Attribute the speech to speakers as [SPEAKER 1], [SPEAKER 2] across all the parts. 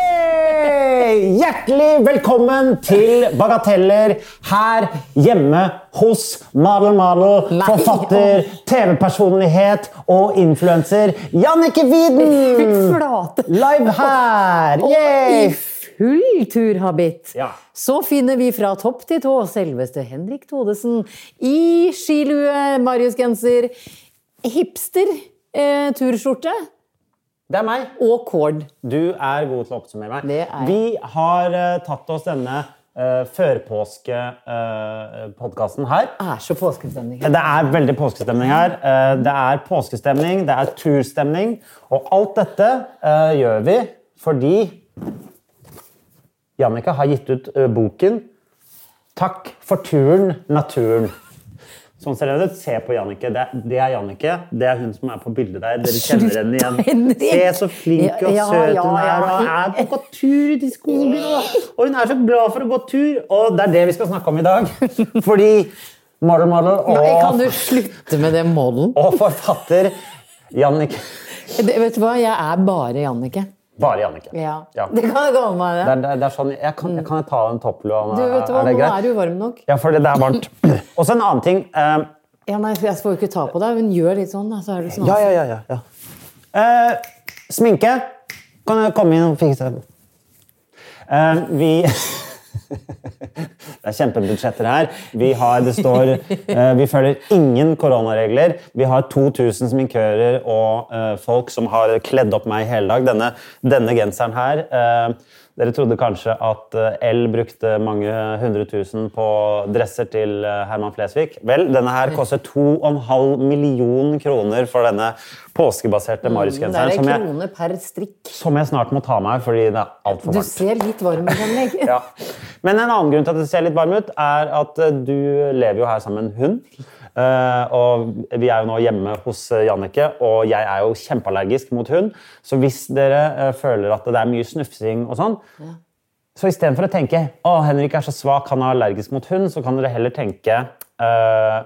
[SPEAKER 1] Hei! Hjertelig velkommen til Bagateller her hjemme hos Madel Madel, forfatter, TV-personlighet og influenser Jannicke
[SPEAKER 2] Fy
[SPEAKER 1] Wieden!
[SPEAKER 2] flate!
[SPEAKER 1] Mm. Live her!
[SPEAKER 2] I
[SPEAKER 1] Yay!
[SPEAKER 2] full turhabit.
[SPEAKER 1] Ja.
[SPEAKER 2] Så finner vi fra topp til tå selveste Henrik Thodesen i skilue, Marius-genser, hipster, eh, turskjorte
[SPEAKER 1] Det er meg.
[SPEAKER 2] og cord.
[SPEAKER 1] Du er god til å oppsummere meg.
[SPEAKER 2] Det er jeg.
[SPEAKER 1] Vi har eh, tatt oss denne uh, førpåske-podkasten her.
[SPEAKER 2] Er så påskestemning.
[SPEAKER 1] Det er veldig påskestemning her. Eh, Det er påskestemning, det er turstemning. Og alt dette eh, gjør vi fordi Jannicke har gitt ut eh, boken 'Takk for turen, naturen'. Sånn ser den ut. Se på Jannicke. Det, det er Jannicke. Det er hun som er på bildet der. Dere kjenner henne igjen.
[SPEAKER 2] Slutt, Henrik.
[SPEAKER 1] Se så flink og
[SPEAKER 2] Ja,
[SPEAKER 1] søt
[SPEAKER 2] ja,
[SPEAKER 1] hun er.
[SPEAKER 2] ja.
[SPEAKER 1] Og er på gå tur ute i skogen. Og, og hun er så glad for å gå tur. Og det er det vi skal snakke om i dag. Fordi Marlon Marlon og
[SPEAKER 2] Nei, kan du slutte med den modellen?
[SPEAKER 1] og forfatter Jannicke.
[SPEAKER 2] Det, vet du hva, jeg er bare Jannicke.
[SPEAKER 1] Bare Jannicke.
[SPEAKER 2] Ja.
[SPEAKER 1] Ja.
[SPEAKER 2] Det kan du kalle meg
[SPEAKER 1] Det
[SPEAKER 2] det.
[SPEAKER 1] er, det er- det er sånn, jeg kan, jeg kan ta den topplua?
[SPEAKER 2] Du vet du hva, Nå er du varm nok.
[SPEAKER 1] Ja, for det det er varmt. Og så en annen ting. eh,
[SPEAKER 2] Ja, nei, jeg får jo ikke ta på deg. Hun gjør litt sånn, da, så er du sånn.
[SPEAKER 1] ja, ja, ja. ja, ja. Eh, sminke. Kan du komme inn og fikse den? Eh, vi Det er kjempebudsjetter her. Vi, har, det står, eh, vi følger ingen koronaregler. Vi har 2000 sminkører og eh, folk som har kledd opp meg i hele dag. Denne, denne genseren her eh, Dere trodde kanskje at eh, L brukte mange hundre tusen på dresser til eh, Herman Flesvig. Vel, denne her koster 2,5 million kroner for denne påskebaserte
[SPEAKER 2] Mm, Det
[SPEAKER 1] Marius-genseren,
[SPEAKER 2] er en
[SPEAKER 1] som, jeg-
[SPEAKER 2] krone per strikk.
[SPEAKER 1] som jeg snart må ta av meg fordi det er altfor
[SPEAKER 2] Du
[SPEAKER 1] varmt.
[SPEAKER 2] ser litt varm ut, Henrik.
[SPEAKER 1] Ja. Men en annen grunn til at det ser litt varm ut, er at eh, du lever jo her sammen med en hund. Eh, og vi er jo nå hjemme hos eh, Jannicke, og jeg er jo kjempeallergisk mot hund. Så hvis dere eh, føler at det er mye snufsing og sånn, så istedenfor å tenke å Henrik er så svak, han er allergisk mot hund, så kan dere heller tenke eh,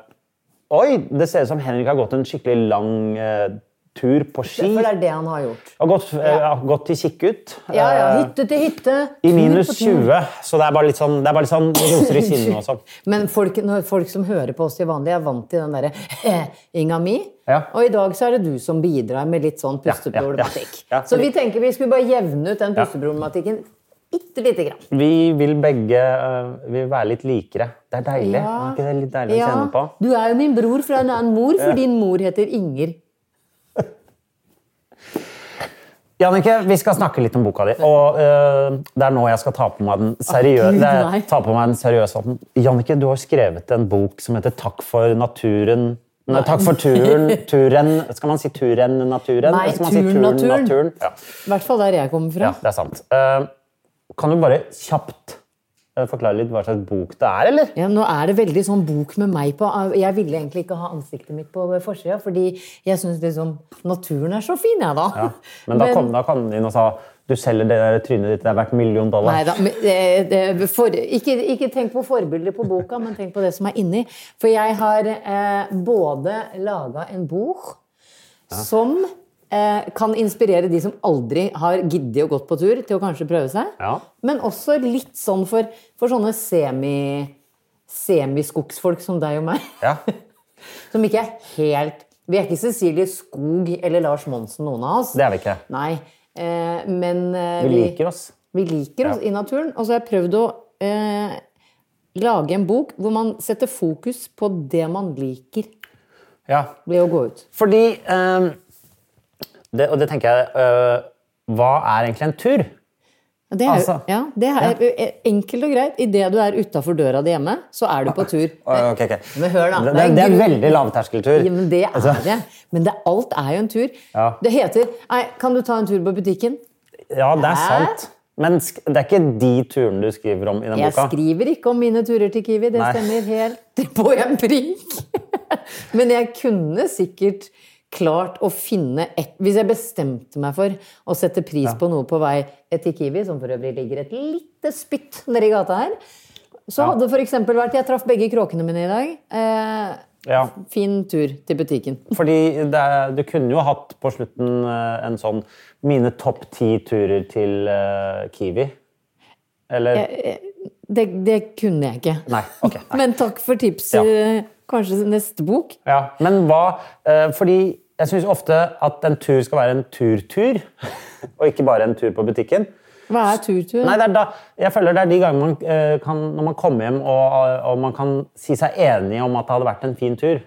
[SPEAKER 1] Oi, det ser ut som Henrik har gått en skikkelig lang eh, tur på ski.
[SPEAKER 2] For det er det han har gjort.
[SPEAKER 1] Har gått, eh, har gått til kikkut.
[SPEAKER 2] Ja, ja,
[SPEAKER 1] Eh,
[SPEAKER 2] Hytte til hytte.
[SPEAKER 1] i
[SPEAKER 2] tur
[SPEAKER 1] minus
[SPEAKER 2] på tur.
[SPEAKER 1] 20, så det er bare litt sånn, det er bare litt sånn roser i kinnene og sånn.
[SPEAKER 2] Men folk, når folk som hører på oss til vanlig, er vant til den derre inga mi.
[SPEAKER 1] Ja.
[SPEAKER 2] Og i dag så er det du som bidrar med litt sånn pusteproblematikk.
[SPEAKER 1] Ja, ja, ja. Ja.
[SPEAKER 2] Så vi tenker vi skulle bare jevne ut den pusteproblematikken bitte lite grann.
[SPEAKER 1] Vi vil begge øh, vi vil være litt likere. Det er deilig.
[SPEAKER 2] Ja.
[SPEAKER 1] Er ikke det litt deilig å kjenne på?
[SPEAKER 2] Du er jo min bror fra en annen mor, for din mor heter Inger.
[SPEAKER 1] Jannicke, vi skal snakke litt om boka di. Og øh, det er nå jeg skal ta på meg den seriøse,
[SPEAKER 2] Gud,
[SPEAKER 1] det er-
[SPEAKER 2] nei.
[SPEAKER 1] ta på meg den seriøse hatten. Jannicke, du har skrevet en bok som heter 'Takk for naturen'. Nei, takk for turen, turen Skal man si turen, naturen?
[SPEAKER 2] Nei,
[SPEAKER 1] Eller skal man si
[SPEAKER 2] turen, naturen.
[SPEAKER 1] Ja.
[SPEAKER 2] I hvert fall der jeg kommer fra.
[SPEAKER 1] Ja, det er sant. Eh, kan du bare kjapt eh, forklare litt hva slags bok det er, eller?
[SPEAKER 2] Ja, nå er det veldig sånn bok med meg på. Jeg ville egentlig ikke ha ansiktet mitt på forsida, fordi jeg syns liksom naturen er så fin, jeg, da.
[SPEAKER 1] Men da kom, da kom de inn og sa du selger det der trynet ditt, det er verdt en million dollar.
[SPEAKER 2] Nei da. men Det, det, for, ikke, ikke tenk på forbilder på boka, men tenk på det som er inni. For jeg har eh, både laga en bok som eh, kan inspirere de som aldri har giddet å gått på tur, til å kanskje prøve seg.
[SPEAKER 1] Ja.
[SPEAKER 2] Men også litt sånn for, for sånne semi, semiskogsfolk som deg og meg.
[SPEAKER 1] Ja.
[SPEAKER 2] Som ikke er helt Vi er ikke Cecilie Skog eller Lars Monsen, noen av oss.
[SPEAKER 1] Det er vi ikke.
[SPEAKER 2] Nei. Eh, men eh,
[SPEAKER 1] Vi liker oss.
[SPEAKER 2] vi liker oss
[SPEAKER 1] Ja.
[SPEAKER 2] i naturen. Og så har jeg prøvd å eh, lage en bok hvor man setter fokus på det man liker
[SPEAKER 1] Ja.
[SPEAKER 2] ved å gå ut.
[SPEAKER 1] Fordi ehm, eh, det, Og det tenker jeg eh, Hva er egentlig en tur?
[SPEAKER 2] Og Det er, jo-
[SPEAKER 1] Altså.
[SPEAKER 2] ja, det er enkelt og greit. Idet du er utafor døra di hjemme, så er du på tur.
[SPEAKER 1] Å, ok, ok.
[SPEAKER 2] Men hør da,
[SPEAKER 1] Det,
[SPEAKER 2] det
[SPEAKER 1] det,
[SPEAKER 2] er
[SPEAKER 1] det er
[SPEAKER 2] grunn-
[SPEAKER 1] veldig lavterskeltur.
[SPEAKER 2] Ja, men det er
[SPEAKER 1] Altså,
[SPEAKER 2] det. Men det, alt er jo en tur.
[SPEAKER 1] Ja.
[SPEAKER 2] Det heter Nei, kan du ta en tur på butikken?
[SPEAKER 1] ja, det er
[SPEAKER 2] Hæ?
[SPEAKER 1] sant. Men sk det er ikke de turene du skriver om i den
[SPEAKER 2] Jeg
[SPEAKER 1] boka.
[SPEAKER 2] skriver ikke om mine turer til Kiwi, det
[SPEAKER 1] Nei.
[SPEAKER 2] stemmer helt på en prikk. Men jeg kunne sikkert klart å finne et Hvis jeg bestemte meg for å sette pris på noe på vei til Kiwi, som for øvrig ligger et lite spytt nedi gata her, så hadde det f.eks. vært Jeg traff begge kråkene mine i dag. Eh,
[SPEAKER 1] Ja,
[SPEAKER 2] fin tur til butikken.
[SPEAKER 1] fordi det er, du kunne jo hatt på slutten eh, en sånn mine topp ti turer til eh, Kiwi. Eller
[SPEAKER 2] Det, det kunne jeg ikke.
[SPEAKER 1] Nei, ok. Nei.
[SPEAKER 2] Men takk for tipset. Kanskje neste bok?
[SPEAKER 1] Ja, men hva eh, Fordi jeg syns ofte at en tur skal være en tur-tur, og ikke bare en tur på butikken.
[SPEAKER 2] Hva er turturen?
[SPEAKER 1] Nei, det er da, jeg føler det er de gangene man eh, kan, når man kommer hjem og, eh, og man kan si seg enig om at det hadde vært en fin tur.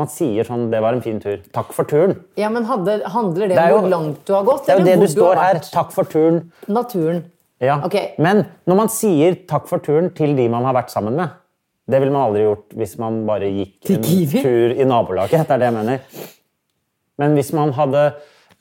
[SPEAKER 1] Man sier sånn 'Det var en fin tur. Takk for turen'.
[SPEAKER 2] Ja, men hadde, Handler det,
[SPEAKER 1] Det er
[SPEAKER 2] om
[SPEAKER 1] jo-
[SPEAKER 2] hvor langt du har gått?
[SPEAKER 1] Det er jo
[SPEAKER 2] eller
[SPEAKER 1] det
[SPEAKER 2] hvor
[SPEAKER 1] du står
[SPEAKER 2] har
[SPEAKER 1] her.
[SPEAKER 2] vært?
[SPEAKER 1] 'Takk for turen'.
[SPEAKER 2] Naturen.
[SPEAKER 1] Ja.
[SPEAKER 2] Ok.
[SPEAKER 1] Men når man sier 'takk for turen' til de man har vært sammen med Det ville man aldri gjort hvis man bare gikk
[SPEAKER 2] Til
[SPEAKER 1] en
[SPEAKER 2] Kiwi?
[SPEAKER 1] tur i nabolaget. Det er det jeg mener. Men hvis man hadde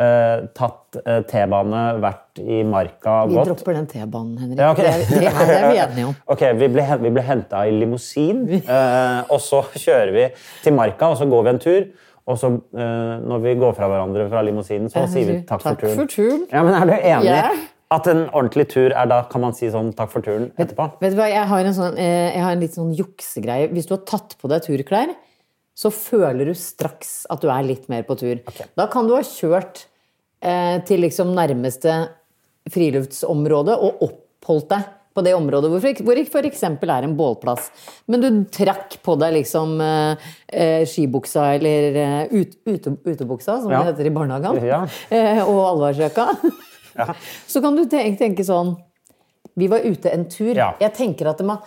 [SPEAKER 1] eh, tatt eh, T-bane, vært i marka
[SPEAKER 2] Vi
[SPEAKER 1] gått
[SPEAKER 2] dropper den T-banen, Henrik.
[SPEAKER 1] Ja, ok.
[SPEAKER 2] Det, er- det er det er vi enige om.
[SPEAKER 1] Ok, Vi ble, hen- vi ble henta i limousin, eh, og så kjører vi til marka, og så går vi en tur. Og så, eh, når vi går fra hverandre fra limousinen, så sier vi 'takk for
[SPEAKER 2] Takk
[SPEAKER 1] turen'.
[SPEAKER 2] for turen.
[SPEAKER 1] Ja, men Er du enig
[SPEAKER 2] Ja.
[SPEAKER 1] at en ordentlig tur er da kan man si sånn 'takk for turen' etterpå?
[SPEAKER 2] Vet du hva, jeg har en, sånn, eh, jeg har en litt sånn juksegreie. Hvis du har tatt på deg turklær, så føler du straks at du er litt mer på tur. Da kan du ha kjørt eh, til liksom nærmeste friluftsområde og oppholdt deg på det området hvor, for- hvor for eksempel er en bålplass. Men du trakk på deg liksom eh, eh, skibuksa eller eh, ut, ute, utebuksa, som
[SPEAKER 1] Ja.
[SPEAKER 2] det heter i barnehagen,
[SPEAKER 1] Ja.
[SPEAKER 2] eh, og allværsjakka. Så kan du tenke, tenke sånn vi var ute en tur.
[SPEAKER 1] Ja.
[SPEAKER 2] Jeg tenker at man,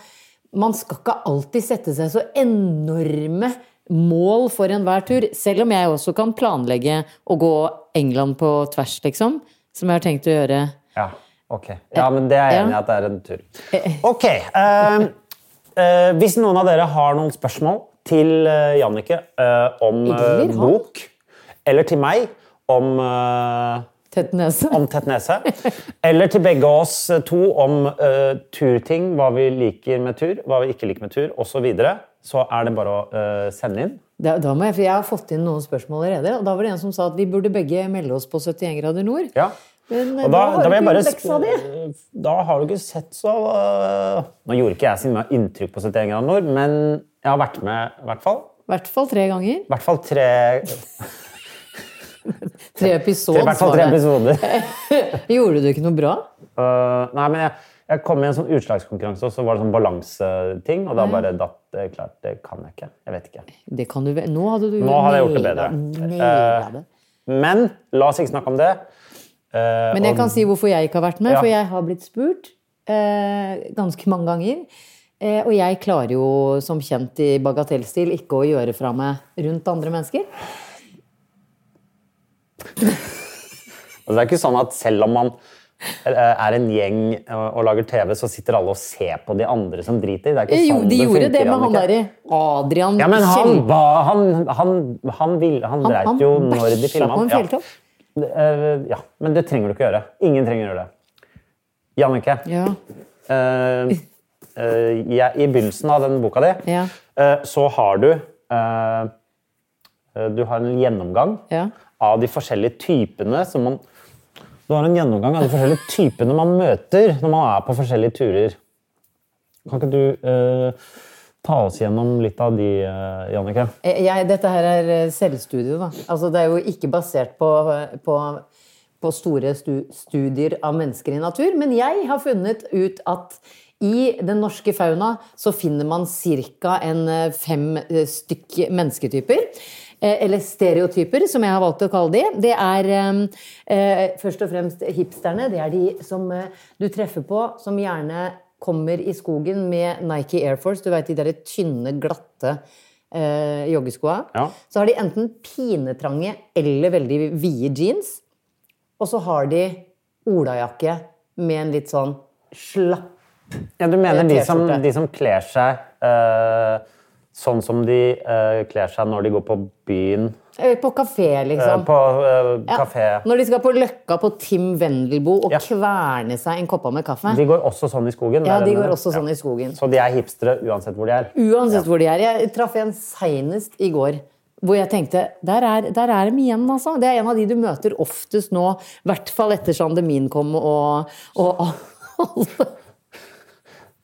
[SPEAKER 2] man skal ikke alltid sette seg så enorme mål for enhver tur. Selv om jeg også kan planlegge å gå England på tvers, liksom. Som jeg har tenkt å gjøre.
[SPEAKER 1] Ja, ok. Ja, men det er jeg enig i
[SPEAKER 2] Ja. eh.
[SPEAKER 1] at det er en tur. Ok. eh, eh, hvis noen av dere har noen spørsmål til eh, Jannicke eh, om eh,
[SPEAKER 2] Eller han.
[SPEAKER 1] bok, eller til meg om eh,
[SPEAKER 2] Tett nese.
[SPEAKER 1] om tett nese. Eller til begge oss to om eh, turting, hva vi liker med tur, hva vi ikke liker med tur, osv. Så, videre. så er det bare å eh, sende inn.
[SPEAKER 2] Da, da må jeg, for jeg har fått inn noen spørsmål allerede. Og da var det en som sa at vi burde begge melde oss på 71 grader nord.
[SPEAKER 1] Ja.
[SPEAKER 2] Men
[SPEAKER 1] Og
[SPEAKER 2] da, har
[SPEAKER 1] vil jeg
[SPEAKER 2] du ikke
[SPEAKER 1] bare
[SPEAKER 2] gjort leksa di.
[SPEAKER 1] sp- da har du ikke sett så eh, Nå gjorde ikke jeg så mye inntrykk på 71 grader nord, men jeg har vært med i hvert fall.
[SPEAKER 2] I hvert fall tre ganger.
[SPEAKER 1] I hvert fall tre,
[SPEAKER 2] Tre
[SPEAKER 1] tre,
[SPEAKER 2] episoder.
[SPEAKER 1] i hvert fall tre episoder.
[SPEAKER 2] Gjorde du ikke noe bra?
[SPEAKER 1] Eh, nei, men jeg, jeg kom i en sånn utslagskonkurranse, og så var det sånn balanseting, og da bare datt det klart. Det kan jeg ikke. Jeg vet ikke.
[SPEAKER 2] Det kan du vel Nå hadde du
[SPEAKER 1] Nå hadde jeg gjort det
[SPEAKER 2] naila-
[SPEAKER 1] bedre. Eh,
[SPEAKER 2] naila det.
[SPEAKER 1] Men la oss ikke snakke om det. Eh,
[SPEAKER 2] Men jeg
[SPEAKER 1] og-
[SPEAKER 2] kan si hvorfor jeg ikke har vært med,
[SPEAKER 1] Ja.
[SPEAKER 2] for jeg har blitt spurt eh, ganske mange ganger. Eh, og jeg klarer jo som kjent i bagatellstil ikke å gjøre fra meg rundt andre mennesker.
[SPEAKER 1] altså, det er ikke sånn at selv om man eh, er en gjeng og, og lager TV, så sitter alle og ser på de andre som driter. Det er ikke
[SPEAKER 2] Jo,
[SPEAKER 1] sånn
[SPEAKER 2] de
[SPEAKER 1] det
[SPEAKER 2] gjorde
[SPEAKER 1] funker,
[SPEAKER 2] det med han
[SPEAKER 1] Jannicke.
[SPEAKER 2] derre Adrian
[SPEAKER 1] Ja, men han,
[SPEAKER 2] Kjell-
[SPEAKER 1] ba, han, han, han, vil, han,
[SPEAKER 2] Han- han
[SPEAKER 1] dreit jo når de
[SPEAKER 2] bæsja
[SPEAKER 1] filma.
[SPEAKER 2] på en
[SPEAKER 1] Ja.
[SPEAKER 2] fjelltopp.
[SPEAKER 1] Eh, ja, men det trenger du ikke gjøre. Ingen trenger å gjøre det. Jannicke,
[SPEAKER 2] Ja.
[SPEAKER 1] eh, eh, jeg, i begynnelsen av den boka di,
[SPEAKER 2] Ja.
[SPEAKER 1] eh, så har du eh, eh, Du har en gjennomgang
[SPEAKER 2] Ja.
[SPEAKER 1] av de forskjellige typene som man Du har en gjennomgang av de forskjellige typene man møter når man er på forskjellige turer. Kan ikke du eh, ta oss gjennom litt av de, uh, Jannicke?
[SPEAKER 2] Eh, Jeg, dette her er eh, selvstudio, da. Altså, det er jo ikke basert på, på, på store stu, studier av mennesker i natur, men jeg har funnet ut at i den norske fauna så finner man ca. fem eh, stykk mennesketyper. eh, Eller stereotyper, som jeg har valgt å kalle de. Det er eh, eh, først og fremst hipsterne. Det er de som eh, du treffer på, som gjerne kommer i skogen med Nike Air Force. Du veit de derre tynne, glatte eh, joggeskoa.
[SPEAKER 1] Ja.
[SPEAKER 2] Så har de enten pinetrange eller veldig vide jeans. Og så har de olajakke med en litt sånn slapp
[SPEAKER 1] Ja, du mener de som,
[SPEAKER 2] Eh, T-skjorte.
[SPEAKER 1] de som kler seg eh, sånn som de eh, kler seg når de går på byen,
[SPEAKER 2] eh, På kafé,
[SPEAKER 1] eh,
[SPEAKER 2] liksom.
[SPEAKER 1] på eh,
[SPEAKER 2] Ja.
[SPEAKER 1] kafé.
[SPEAKER 2] Når de skal på Løkka på Tim Wendelbo og
[SPEAKER 1] Ja.
[SPEAKER 2] kverne seg en koppa med kaffe.
[SPEAKER 1] De går også sånn i skogen.
[SPEAKER 2] ja,
[SPEAKER 1] er det det
[SPEAKER 2] de
[SPEAKER 1] du
[SPEAKER 2] går
[SPEAKER 1] mener?
[SPEAKER 2] også sånn i skogen.
[SPEAKER 1] Så de er hipstere uansett hvor de er.
[SPEAKER 2] Uansett hvor de er. Jeg traff en seinest i går. Hvor jeg tenkte der er, der er de igjen, altså. Det er en av de du møter oftest nå. I hvert fall etter pandemien kom og, og alle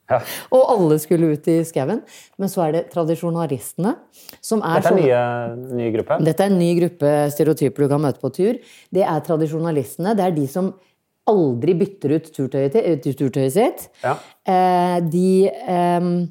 [SPEAKER 1] Ja.
[SPEAKER 2] Og alle skulle ut i skauen. Men så er det tradisjonalistene, som er,
[SPEAKER 1] Dette er
[SPEAKER 2] sånne-
[SPEAKER 1] nye, nye gruppe.
[SPEAKER 2] dette er en ny gruppe stereotyper du kan møte på tur. Det er tradisjonalistene. Det er de som aldri bytter ut turtøyet, til- eh, turtøyet sitt.
[SPEAKER 1] Ja.
[SPEAKER 2] Eh, de ehm,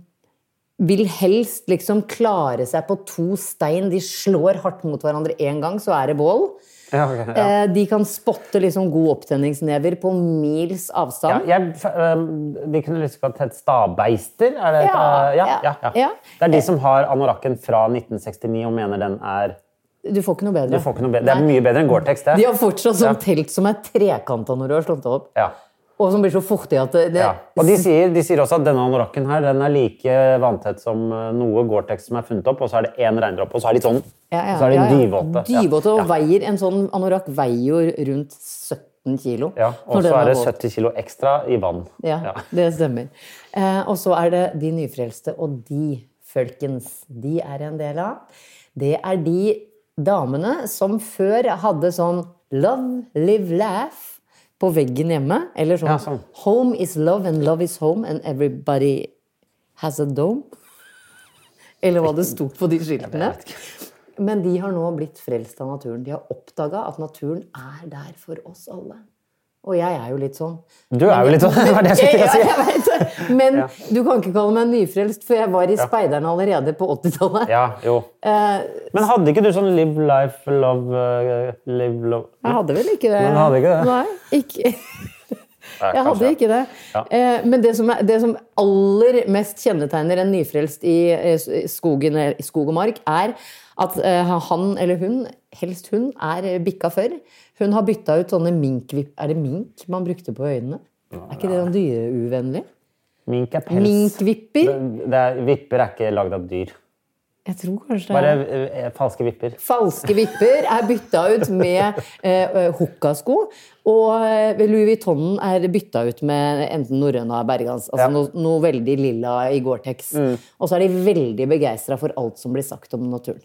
[SPEAKER 2] vil helst liksom klare seg på to stein. De slår hardt mot hverandre én gang, så er det bål.
[SPEAKER 1] Ja, ok, ja.
[SPEAKER 2] Eh, de kan spotte liksom god opptenningsnever på mils avstand.
[SPEAKER 1] Ja, jeg, f- øhm, de kunne lyst til å hett stabbeister? Er det,
[SPEAKER 2] Ja,
[SPEAKER 1] et, øh, ja,
[SPEAKER 2] ja,
[SPEAKER 1] ja, ja.
[SPEAKER 2] ja.
[SPEAKER 1] Det er de som har anorakken fra 1969 og mener den er
[SPEAKER 2] Du får ikke noe bedre.
[SPEAKER 1] Du får ikke noe bedre. Det er
[SPEAKER 2] Nei.
[SPEAKER 1] mye bedre enn Gore-Tex, det.
[SPEAKER 2] De har fortsatt sånn
[SPEAKER 1] Ja.
[SPEAKER 2] telt som er trekanta når du har slått det opp.
[SPEAKER 1] Ja,
[SPEAKER 2] Og som blir så fuktig at det, det
[SPEAKER 1] ja. Og de sier, de sier også at denne anorakken her, den er like vanntett som øh, noe Gore-Tex som er funnet opp, og så er det én regndråpe, og så er de sånn.
[SPEAKER 2] Ja, ja,
[SPEAKER 1] så er de
[SPEAKER 2] ja, ja.
[SPEAKER 1] dyvåte. Ja,
[SPEAKER 2] Dyvåte, og
[SPEAKER 1] ja.
[SPEAKER 2] veier En sånn anorakk veier jo rundt 17 kilo.
[SPEAKER 1] Ja, og
[SPEAKER 2] når
[SPEAKER 1] så
[SPEAKER 2] den
[SPEAKER 1] er det
[SPEAKER 2] våt.
[SPEAKER 1] 70 kilo ekstra i vann.
[SPEAKER 2] Ja,
[SPEAKER 1] Ja.
[SPEAKER 2] det stemmer. Eh, og så er det de nyfrelste, og de, folkens, de er en del av. Det er de damene som før hadde sånn love, live, laugh på veggen hjemme. Eller sånn,
[SPEAKER 1] Ja, sånn.
[SPEAKER 2] home is love and love is home and everybody has a dome. Eller hva det sto på de skiltene. Men de har nå blitt frelst av naturen. De har oppdaga at naturen er der for oss alle. Og jeg er jo litt sånn.
[SPEAKER 1] Du er jo litt sånn, det var det jeg skulle til å si.
[SPEAKER 2] Ja, jeg vet det. Men du kan ikke kalle meg nyfrelst, for jeg var i Speideren allerede på 80-tallet.
[SPEAKER 1] Ja, jo.
[SPEAKER 2] Eh,
[SPEAKER 1] Men hadde ikke du sånn live life, love, øh, live, love
[SPEAKER 2] jeg hadde vel ikke det.
[SPEAKER 1] Men du hadde ikke det?
[SPEAKER 2] Nei, ikke.
[SPEAKER 1] Nei,
[SPEAKER 2] Jeg hadde
[SPEAKER 1] kanskje.
[SPEAKER 2] ikke det.
[SPEAKER 1] Ja.
[SPEAKER 2] Eh, Men det som, er, det som aller mest kjennetegner en nyfrelst i eh, s- i skogen, i skog og mark, er at eh, han eller hun, helst hun, er eh, bikka før. Hun har bytta ut sånne minkvipp... Er det mink man brukte på øynene? Er ikke det sånn dyreuvennlig?
[SPEAKER 1] Mink er pels.
[SPEAKER 2] Minkvipper?
[SPEAKER 1] Det, det er, vipper er ikke lagd av dyr.
[SPEAKER 2] Jeg tror kanskje det er
[SPEAKER 1] Bare eh, falske vipper.
[SPEAKER 2] Falske vipper er bytta ut med eh, hukkasko. Og eh, Louis Vuitton er bytta ut med enten norrøna bergans, altså
[SPEAKER 1] Ja. Mm.
[SPEAKER 2] noe, noe veldig lilla i Gore-Tex. Og så er de veldig begeistra for alt som blir sagt om naturen.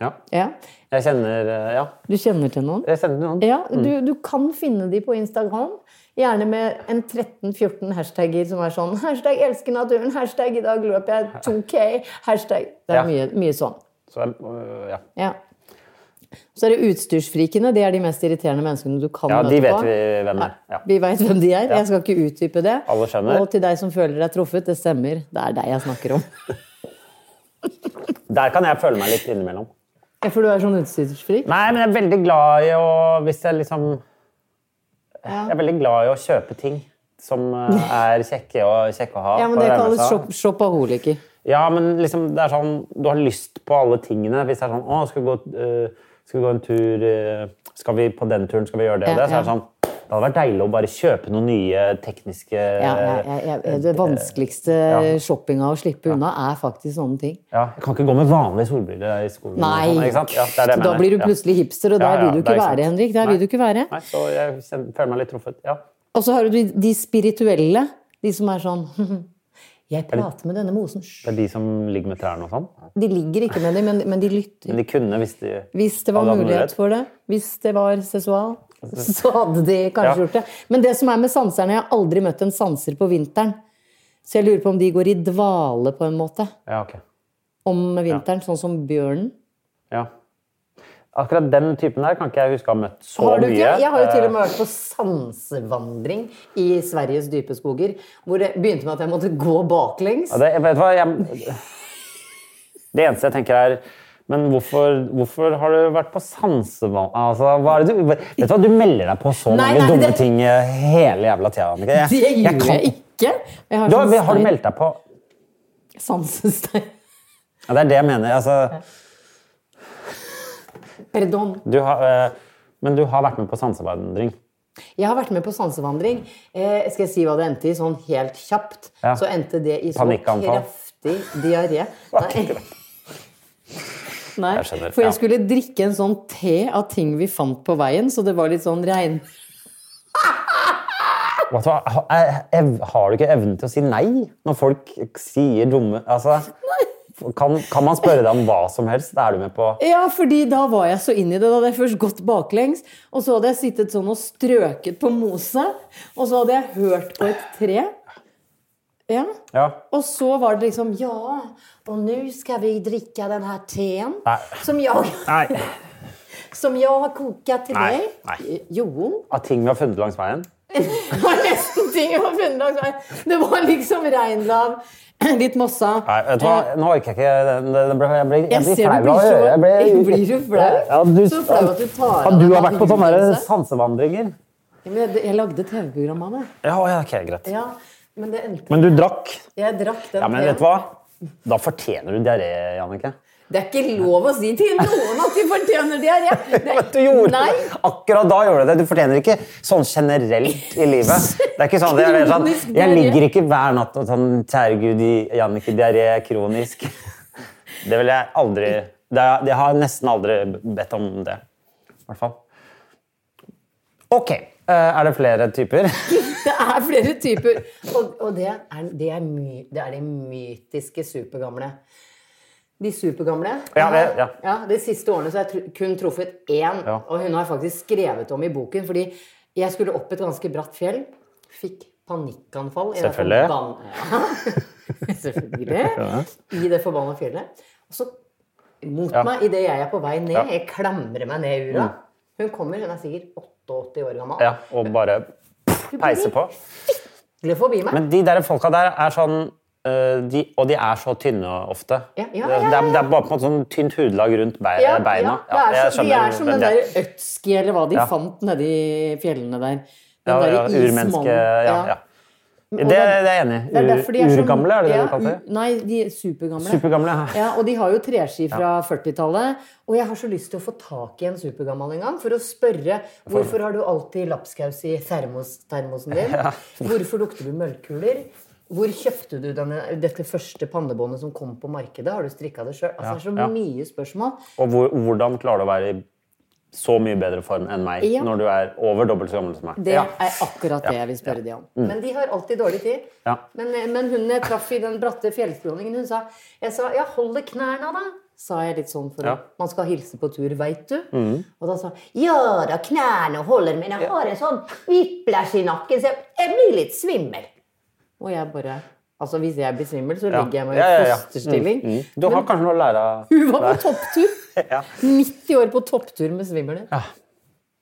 [SPEAKER 1] Ja.
[SPEAKER 2] Ja.
[SPEAKER 1] Jeg kjenner eh, Ja,
[SPEAKER 2] Du kjenner til noen?
[SPEAKER 1] jeg kjenner noen.
[SPEAKER 2] Ja, du, du kan finne de på Instagram. Gjerne med en 13-14 hashtagger som er sånn Hashtag 'elsker naturen', hashtag 'i dag løp jeg 2K', hashtag Det er
[SPEAKER 1] Ja.
[SPEAKER 2] mye, mye sånn.
[SPEAKER 1] Så, jeg- øh, ja.
[SPEAKER 2] Ja. Så er det utstyrsfrikene. Det er de mest irriterende menneskene du kan
[SPEAKER 1] ja,
[SPEAKER 2] møte
[SPEAKER 1] de vet
[SPEAKER 2] på.
[SPEAKER 1] vi hvem er. Ja.
[SPEAKER 2] Vi vet hvem de er. Jeg skal ikke utdype det.
[SPEAKER 1] Alle skjønner.
[SPEAKER 2] Og til deg som føler deg truffet, det stemmer. Det er deg jeg snakker om.
[SPEAKER 1] Der kan jeg føle meg litt innimellom.
[SPEAKER 2] Ja, For du er sånn utstyrsfrik?
[SPEAKER 1] Nei, men jeg er veldig glad i å Hvis jeg liksom Jeg er veldig glad i å kjøpe ting som eh, er kjekke, og, kjekke å ha.
[SPEAKER 2] Ja, men
[SPEAKER 1] på
[SPEAKER 2] det
[SPEAKER 1] nærmeste.
[SPEAKER 2] kalles shop shopaholiker.
[SPEAKER 1] Ja, men liksom, det er sånn, du har lyst på alle tingene. Hvis det er sånn eh, Å, eh, skal vi gå, øh, skal vi gå en tur øh, Skal vi på den turen, skal vi gjøre det og
[SPEAKER 2] Ja,
[SPEAKER 1] det? Så er det
[SPEAKER 2] ja.
[SPEAKER 1] sånn Det hadde vært deilig å bare kjøpe noen nye tekniske
[SPEAKER 2] Ja, jeg, jeg, jeg,
[SPEAKER 1] Eh,
[SPEAKER 2] det vanskeligste shoppinga å slippe unna er faktisk sånne ting.
[SPEAKER 1] Ja, jeg kan ikke gå med vanlige solbriller i skolen.
[SPEAKER 2] Nei,
[SPEAKER 1] og sånn, ikke sant? Ja, det er det jeg
[SPEAKER 2] da
[SPEAKER 1] mener.
[SPEAKER 2] blir du
[SPEAKER 1] Ja.
[SPEAKER 2] plutselig hipster, og
[SPEAKER 1] Ja,
[SPEAKER 2] der
[SPEAKER 1] ja,
[SPEAKER 2] vil du
[SPEAKER 1] det
[SPEAKER 2] ikke
[SPEAKER 1] er sant.
[SPEAKER 2] være, Henrik. Der
[SPEAKER 1] Nei.
[SPEAKER 2] vil du ikke være.
[SPEAKER 1] Nei, så jeg kjenner- føler meg litt truffet. Ja.
[SPEAKER 2] Og så har du de, de spirituelle, de som er sånn Jeg prater med denne mosen.
[SPEAKER 1] Det er de som ligger med trærne og sånn.
[SPEAKER 2] De ligger ikke med dem, men, men de lytter.
[SPEAKER 1] Men de kunne hvis de
[SPEAKER 2] Hvis det var
[SPEAKER 1] hadde hatt
[SPEAKER 2] mulighet for det, hvis det var sesual, så hadde de kanskje
[SPEAKER 1] Ja.
[SPEAKER 2] gjort det. Men det som er med sanserne, jeg har aldri møtt en sanser på vinteren. Så jeg lurer på om de går i dvale på en måte
[SPEAKER 1] Ja, ok.
[SPEAKER 2] om vinteren, sånn som bjørnen.
[SPEAKER 1] Ja. Akkurat den typen der kan ikke jeg huske å ha møtt så
[SPEAKER 2] Har du
[SPEAKER 1] mye. Eh.
[SPEAKER 2] ikke? Jeg har jo til og med vært på sansevandring i Sveriges dype skoger, hvor det begynte med at jeg måtte gå baklengs.
[SPEAKER 1] Ja, Eh, Det, jeg vet hva, jeg, det eneste jeg tenker er men hvorfor, hvorfor har du vært på sansevann? Altså, hva er det du, vet du hva, du melder deg på så
[SPEAKER 2] Nei,
[SPEAKER 1] mange
[SPEAKER 2] nei,
[SPEAKER 1] dumme
[SPEAKER 2] det-
[SPEAKER 1] ting eh, hele jævla tida. Annika. Jeg-
[SPEAKER 2] Det
[SPEAKER 1] jeg
[SPEAKER 2] gjorde
[SPEAKER 1] kan-
[SPEAKER 2] jeg ikke. Jeg har
[SPEAKER 1] Du,
[SPEAKER 2] sånn
[SPEAKER 1] har- har du
[SPEAKER 2] stein-
[SPEAKER 1] meldt deg på
[SPEAKER 2] sansestein.
[SPEAKER 1] ja, Det er det jeg mener. Altså,
[SPEAKER 2] Pardon.
[SPEAKER 1] du har, eh, men du har vært med på sansevandring.
[SPEAKER 2] Jeg har vært med på sansevandring. Eh, skal jeg si hva det endte i, sånn helt kjapt?
[SPEAKER 1] Ja.
[SPEAKER 2] Så endte det i så
[SPEAKER 1] Panikkanfall.
[SPEAKER 2] kraftig diaré. Nei. Nei,
[SPEAKER 1] Jeg skjønner,
[SPEAKER 2] for
[SPEAKER 1] ja.
[SPEAKER 2] jeg skulle drikke en sånn te av ting vi fant på veien, så det var litt sånn regn...
[SPEAKER 1] Vet du hva, ha- jeg- ev- har du ikke evnen til å si nei når folk sier dumme altså, kan, kan man spørre deg om hva som helst? Da er du med på
[SPEAKER 2] Ja, fordi da var jeg så inn i det. Da hadde jeg først gått baklengs, og så hadde jeg sittet sånn og strøket på mose, og så hadde jeg hørt på et tre. Ja.
[SPEAKER 1] Ja.
[SPEAKER 2] Og så var det liksom Ja, og nå skal vi drikke den her teen
[SPEAKER 1] Nei.
[SPEAKER 2] som jeg,
[SPEAKER 1] Nei.
[SPEAKER 2] som jeg har koket til
[SPEAKER 1] Nei,
[SPEAKER 2] deg.
[SPEAKER 1] nei.
[SPEAKER 2] Eh, Jo.
[SPEAKER 1] Av ting vi har funnet langs veien?
[SPEAKER 2] Det var nesten ting jeg har funnet langs veien. Det var liksom reinlav, litt mossa. Eh,
[SPEAKER 1] Nei, vet du hva? Nå orker jeg ikke den. den- den ble- Jeg blir, jeg
[SPEAKER 2] Jeg
[SPEAKER 1] blir
[SPEAKER 2] ser
[SPEAKER 1] flau
[SPEAKER 2] du blir
[SPEAKER 1] av å
[SPEAKER 2] så-
[SPEAKER 1] høre. Jeg
[SPEAKER 2] Blir du flau?
[SPEAKER 1] Ja, du,
[SPEAKER 2] Så flau at du tar av
[SPEAKER 1] Ja, du
[SPEAKER 2] deg
[SPEAKER 1] har vært på sånne
[SPEAKER 2] huet,
[SPEAKER 1] der
[SPEAKER 2] altså.
[SPEAKER 1] sansevandringer?
[SPEAKER 2] Men Jeg, jeg lagde TV-program av det.
[SPEAKER 1] Ja, ja, ok, greit.
[SPEAKER 2] Ja, men det endte
[SPEAKER 1] Men du drakk.
[SPEAKER 2] Jeg drakk den
[SPEAKER 1] Ja, men
[SPEAKER 2] teen.
[SPEAKER 1] vet du hva? Da fortjener du diaré, Jannicke.
[SPEAKER 2] Det er ikke lov å si til noen at de fortjener diaré. Det er-
[SPEAKER 1] Vet Du gjorde
[SPEAKER 2] Nei.
[SPEAKER 1] det. Akkurat da gjorde du det. Du fortjener ikke sånn generelt i livet. Det er ikke sånn, det er sånn
[SPEAKER 2] Kronisk
[SPEAKER 1] Jeg
[SPEAKER 2] diaré.
[SPEAKER 1] ligger ikke hver natt og sånn Kjære gud, Jannicke, diaré er kronisk. Det vil jeg aldri det er, Jeg har nesten aldri bedt om det. I hvert fall. Ok. eh, Er det flere typer?
[SPEAKER 2] Det er flere typer. Og, og det, er, det, er my, det er de mytiske supergamle. De supergamle.
[SPEAKER 1] Ja, det- ja.
[SPEAKER 2] de siste årene så har jeg tru- kun truffet én,
[SPEAKER 1] Ja.
[SPEAKER 2] og hun har jeg faktisk skrevet om i boken. Fordi jeg skulle opp et ganske bratt fjell. Fikk panikkanfall. i det
[SPEAKER 1] Selvfølgelig.
[SPEAKER 2] forbanna- Ja. Selvfølgelig. I det forbanna fjellet. Og så mot
[SPEAKER 1] Ja.
[SPEAKER 2] meg idet jeg er på vei ned.
[SPEAKER 1] Ja. Mm.
[SPEAKER 2] Jeg klamrer meg ned i ura. Hun kommer, hun er sikkert 88 år gammel.
[SPEAKER 1] Ja, og bare peise på.
[SPEAKER 2] Glir forbi meg.
[SPEAKER 1] Men de der folka der er sånn øh, de, Og de er så tynne ofte.
[SPEAKER 2] Ja, ja,
[SPEAKER 1] Det,
[SPEAKER 2] ja,
[SPEAKER 1] det,
[SPEAKER 2] ja,
[SPEAKER 1] er,
[SPEAKER 2] ja.
[SPEAKER 1] det er bare på en måte sånn tynt hudlag rundt bei-
[SPEAKER 2] Ja,
[SPEAKER 1] Eh, beina.
[SPEAKER 2] Ja, det er,
[SPEAKER 1] jeg
[SPEAKER 2] så, de
[SPEAKER 1] skjønner
[SPEAKER 2] er som den
[SPEAKER 1] hvem de
[SPEAKER 2] der
[SPEAKER 1] er.
[SPEAKER 2] Øtski, eller hva de
[SPEAKER 1] Ja.
[SPEAKER 2] fant nede i fjellene der. Den
[SPEAKER 1] ja,
[SPEAKER 2] der
[SPEAKER 1] ja,
[SPEAKER 2] ismannen.
[SPEAKER 1] Urmenneske Ja. ja. Det, det
[SPEAKER 2] det
[SPEAKER 1] er
[SPEAKER 2] er-
[SPEAKER 1] jeg enig
[SPEAKER 2] Det er derfor de
[SPEAKER 1] i.
[SPEAKER 2] er
[SPEAKER 1] Ur-
[SPEAKER 2] så-
[SPEAKER 1] Urgamle, er det det du kaller
[SPEAKER 2] u-
[SPEAKER 1] det?
[SPEAKER 2] Nei, de er supergamle.
[SPEAKER 1] Supergamle. Ja.
[SPEAKER 2] Ja, og de har jo treski fra 40-tallet. Og jeg har så lyst til å få tak i en supergammal en gang for å spørre hvorfor har du alltid lapskaus i termos, termosen din? Hvorfor lukter du møllkuler? Hvor kjøpte du denne, dette første pannebåndet som kom på markedet? Har du strikka det sjøl? Altså, det er så
[SPEAKER 1] Ja, ja.
[SPEAKER 2] mye spørsmål.
[SPEAKER 1] Og hvor, hvordan klarer du å være i så mye bedre form enn meg
[SPEAKER 2] Ja.
[SPEAKER 1] når du er over dobbelt så gammel som meg?
[SPEAKER 2] Det
[SPEAKER 1] Ja. Mm.
[SPEAKER 2] er akkurat det jeg vil spørre de om. Men de har alltid dårlig tid.
[SPEAKER 1] Ja.
[SPEAKER 2] Men, men hun jeg traff i den bratte fjellskråningen, hun sa Jeg sa ja, hold det knærne, da. Sa jeg litt sånn for
[SPEAKER 1] Ja. Mm.
[SPEAKER 2] man skal hilse på tur, veit du. Og da sa hun ja da, knærne holder, men jeg har en sånn whiplash i nakken, så jeg, jeg blir litt svimmel. Og jeg bare Altså, hvis jeg blir svimmel, så
[SPEAKER 1] Ja.
[SPEAKER 2] ligger jeg meg
[SPEAKER 1] Ja, ja,
[SPEAKER 2] i
[SPEAKER 1] ja.
[SPEAKER 2] fosterstilling.
[SPEAKER 1] Mm, mm. Du har kanskje noe å lære av
[SPEAKER 2] Hun var på topptur!
[SPEAKER 1] Ja.
[SPEAKER 2] 90 år på topptur med svimmelhet.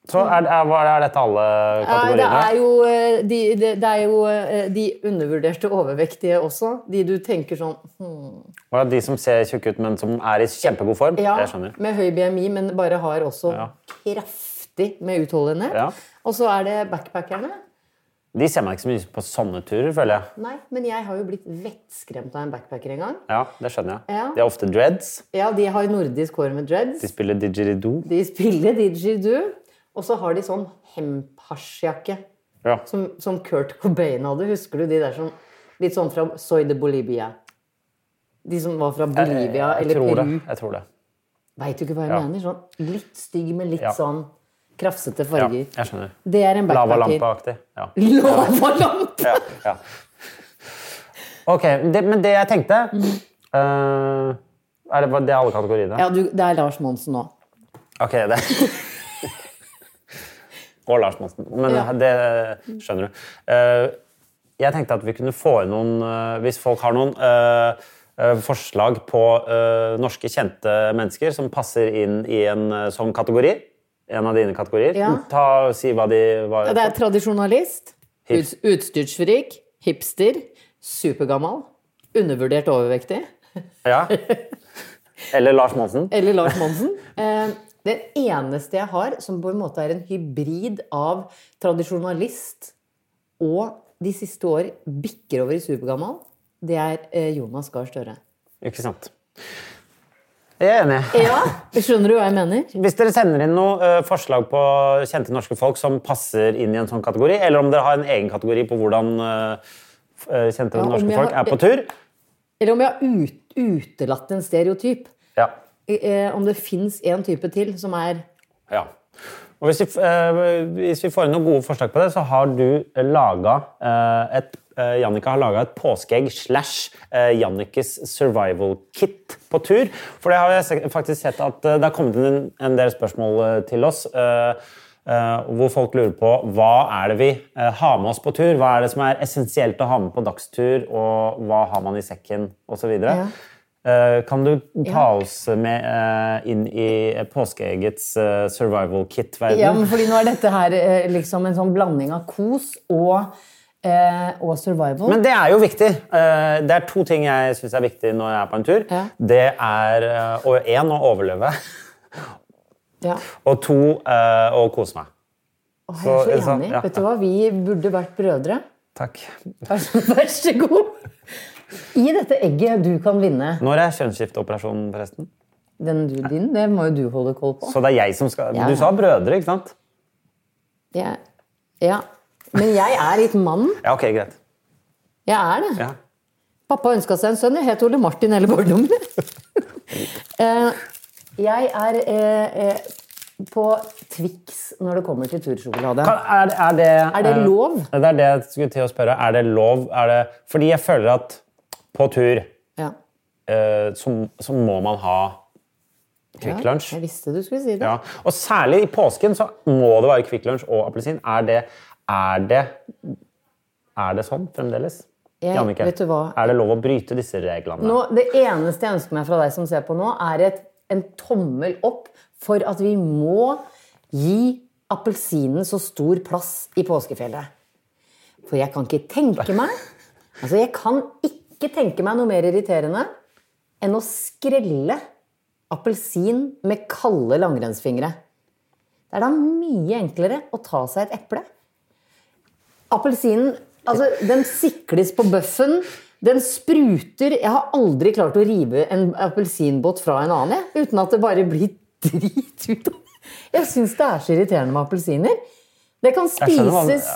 [SPEAKER 1] Så er, er, hva er dette alle
[SPEAKER 2] Nei,
[SPEAKER 1] kategoriene?
[SPEAKER 2] det er jo, eh, de, det, det er jo eh, de undervurderte overvektige også. De du tenker sånn hmm,
[SPEAKER 1] Hva er de som ser tjukke ut, men som er i kjempegod form?
[SPEAKER 2] Ja,
[SPEAKER 1] Jeg skjønner.
[SPEAKER 2] med høy BMI, men bare har også
[SPEAKER 1] Ja.
[SPEAKER 2] kraftig med utholdenhet.
[SPEAKER 1] Ja.
[SPEAKER 2] Og så er det backpackerne.
[SPEAKER 1] De ser meg ikke så mye på sånne turer, føler jeg.
[SPEAKER 2] Nei, men jeg har jo blitt vettskremt av en backpacker en gang.
[SPEAKER 1] Ja, det skjønner jeg.
[SPEAKER 2] Ja.
[SPEAKER 1] De har ofte dreads.
[SPEAKER 2] Ja, de har nordisk hår med dreads.
[SPEAKER 1] De spiller didgeridoo.
[SPEAKER 2] De spiller didgeridoo. Og så har de sånn hemphasjjakke.
[SPEAKER 1] Ja.
[SPEAKER 2] Som, som Kurt Cobain hadde. Husker du de der som Litt sånn fra Soy de Bolivia. De som var fra Bolivia
[SPEAKER 1] jeg,
[SPEAKER 2] eller
[SPEAKER 1] tror det.
[SPEAKER 2] Peru.
[SPEAKER 1] jeg tror det.
[SPEAKER 2] Veit du ikke hva jeg
[SPEAKER 1] Ja.
[SPEAKER 2] mener? Sånn litt stygg med litt
[SPEAKER 1] Ja.
[SPEAKER 2] sånn krafsete
[SPEAKER 1] Ja,
[SPEAKER 2] farger.
[SPEAKER 1] jeg skjønner.
[SPEAKER 2] Det er en backpacker.
[SPEAKER 1] Lavalampeaktig. Ja.
[SPEAKER 2] Lavalampe!
[SPEAKER 1] ja, ja. Ok, det, men det jeg tenkte eh, Er det, bare- det er alle kategoriene?
[SPEAKER 2] Mm. Ja, du, det er Lars Monsen nå.
[SPEAKER 1] Ok, det Og Lars Monsen. Men
[SPEAKER 2] Ja.
[SPEAKER 1] det skjønner du. Eh, jeg tenkte at vi kunne få inn noen eh, Hvis folk har noen eh, eh, forslag på eh, norske kjente mennesker som passer inn i en eh, sånn kategori En av dine kategorier.
[SPEAKER 2] Ja.
[SPEAKER 1] Ta, si hva de var.
[SPEAKER 2] Ja, Det er tradisjonalist,
[SPEAKER 1] Hips.
[SPEAKER 2] ut, utstyrsfrik, hipster, supergammal, undervurdert overvektig,
[SPEAKER 1] Ja. Eller Lars Monsen.
[SPEAKER 2] eller Lars Monsen. Eh, den eneste jeg har som på en måte er en hybrid av tradisjonalist og de siste år bikker over i supergammal, det er eh, Jonas Gahr Støre.
[SPEAKER 1] Ikke sant? Jeg er enig.
[SPEAKER 2] Ja, skjønner du hva jeg mener?
[SPEAKER 1] Hvis dere sender inn noen eh, forslag på kjente norske folk som passer inn i en sånn kategori, eller om dere har en egen kategori på hvordan eh, f- eh, kjente
[SPEAKER 2] Ja, om
[SPEAKER 1] norske
[SPEAKER 2] jeg
[SPEAKER 1] folk
[SPEAKER 2] har-
[SPEAKER 1] er på tur
[SPEAKER 2] Eller om jeg har ut, utelatt en stereotyp.
[SPEAKER 1] ja.
[SPEAKER 2] Eh, om det fins en type til som er
[SPEAKER 1] ja. Og hvis vi, f- eh, hvis vi får inn noen gode forslag på det, så har du laga eh, et eh, Jannika har laga et påskeegg slash eh, Jannikes survival kit på tur. For det har jeg se- faktisk sett at eh, det har kommet inn en, en del spørsmål eh, til oss. eh, Eh, hvor folk lurer på hva er det vi eh, har med oss på tur. Hva er det som er essensielt å ha med på dagstur, og hva har man i sekken osv.
[SPEAKER 2] Ja.
[SPEAKER 1] Eh, kan du ta
[SPEAKER 2] Ja.
[SPEAKER 1] oss med eh, inn i påskeeggets eh, survival
[SPEAKER 2] Ja, men
[SPEAKER 1] kit-verden?
[SPEAKER 2] fordi nå er dette her eh, liksom en sånn blanding av kos og, eh, og survival.
[SPEAKER 1] Men det er jo viktig. Eh, det er to ting jeg syns er viktig når jeg er på en tur.
[SPEAKER 2] Ja.
[SPEAKER 1] Det er eh, å- én å overleve,
[SPEAKER 2] ja.
[SPEAKER 1] og to eh, å kose meg.
[SPEAKER 2] Å, jeg er
[SPEAKER 1] så-
[SPEAKER 2] så
[SPEAKER 1] så-
[SPEAKER 2] enig.
[SPEAKER 1] ja.
[SPEAKER 2] Vet du hva, vi burde vært brødre.
[SPEAKER 1] Takk.
[SPEAKER 2] Vær så, vær så god. I dette egget du kan vinne,
[SPEAKER 1] Når er kjønnsskifteoperasjonen, forresten?
[SPEAKER 2] den du din, det må jo du holde koll på.
[SPEAKER 1] Så det er jeg som skal
[SPEAKER 2] Ja,
[SPEAKER 1] Du
[SPEAKER 2] ja.
[SPEAKER 1] sa brødre, ikke sant?
[SPEAKER 2] Det er- ja. Men jeg er litt mann.
[SPEAKER 1] Ja, ok, greit.
[SPEAKER 2] Jeg er det.
[SPEAKER 1] Ja.
[SPEAKER 2] Pappa ønska seg en sønn. Jeg het Ole Martin hele barndommen. Eh, jeg er eh, eh, på Twix når det kommer til tursjokolade.
[SPEAKER 1] Kan, er, er, det,
[SPEAKER 2] Er det
[SPEAKER 1] eh,
[SPEAKER 2] lov?
[SPEAKER 1] Det er det jeg skulle til å spørre. Er det lov? Er det, fordi jeg føler at på tur
[SPEAKER 2] Ja.
[SPEAKER 1] eh, så, så må man ha Kvikk Lunsj.
[SPEAKER 2] Jeg visste du skulle si det.
[SPEAKER 1] Ja. Og særlig i påsken så må det være Kvikk Lunsj og appelsin. Er det, er det Er det sånn fremdeles?
[SPEAKER 2] Jeg-
[SPEAKER 1] Jannicke,
[SPEAKER 2] vet du hva?
[SPEAKER 1] Er det lov å bryte disse reglene?
[SPEAKER 2] Nå, det eneste jeg ønsker meg fra deg som ser på nå, er et, en tommel opp for at vi må gi appelsinen så stor plass i påskefjellet. For jeg kan ikke tenke meg Altså, jeg kan ikke tenke meg noe mer irriterende enn å skrelle appelsin med kalde langrennsfingre. Det er da mye enklere å ta seg et eple. Appelsinen altså, den sikles på bøffen. Den spruter. Jeg har aldri klart å rive en appelsinbåt fra en annen jeg, uten at det bare blir drit ut av det. Jeg syns det er så irriterende med appelsiner. Det kan
[SPEAKER 1] skjønner hva-
[SPEAKER 2] spises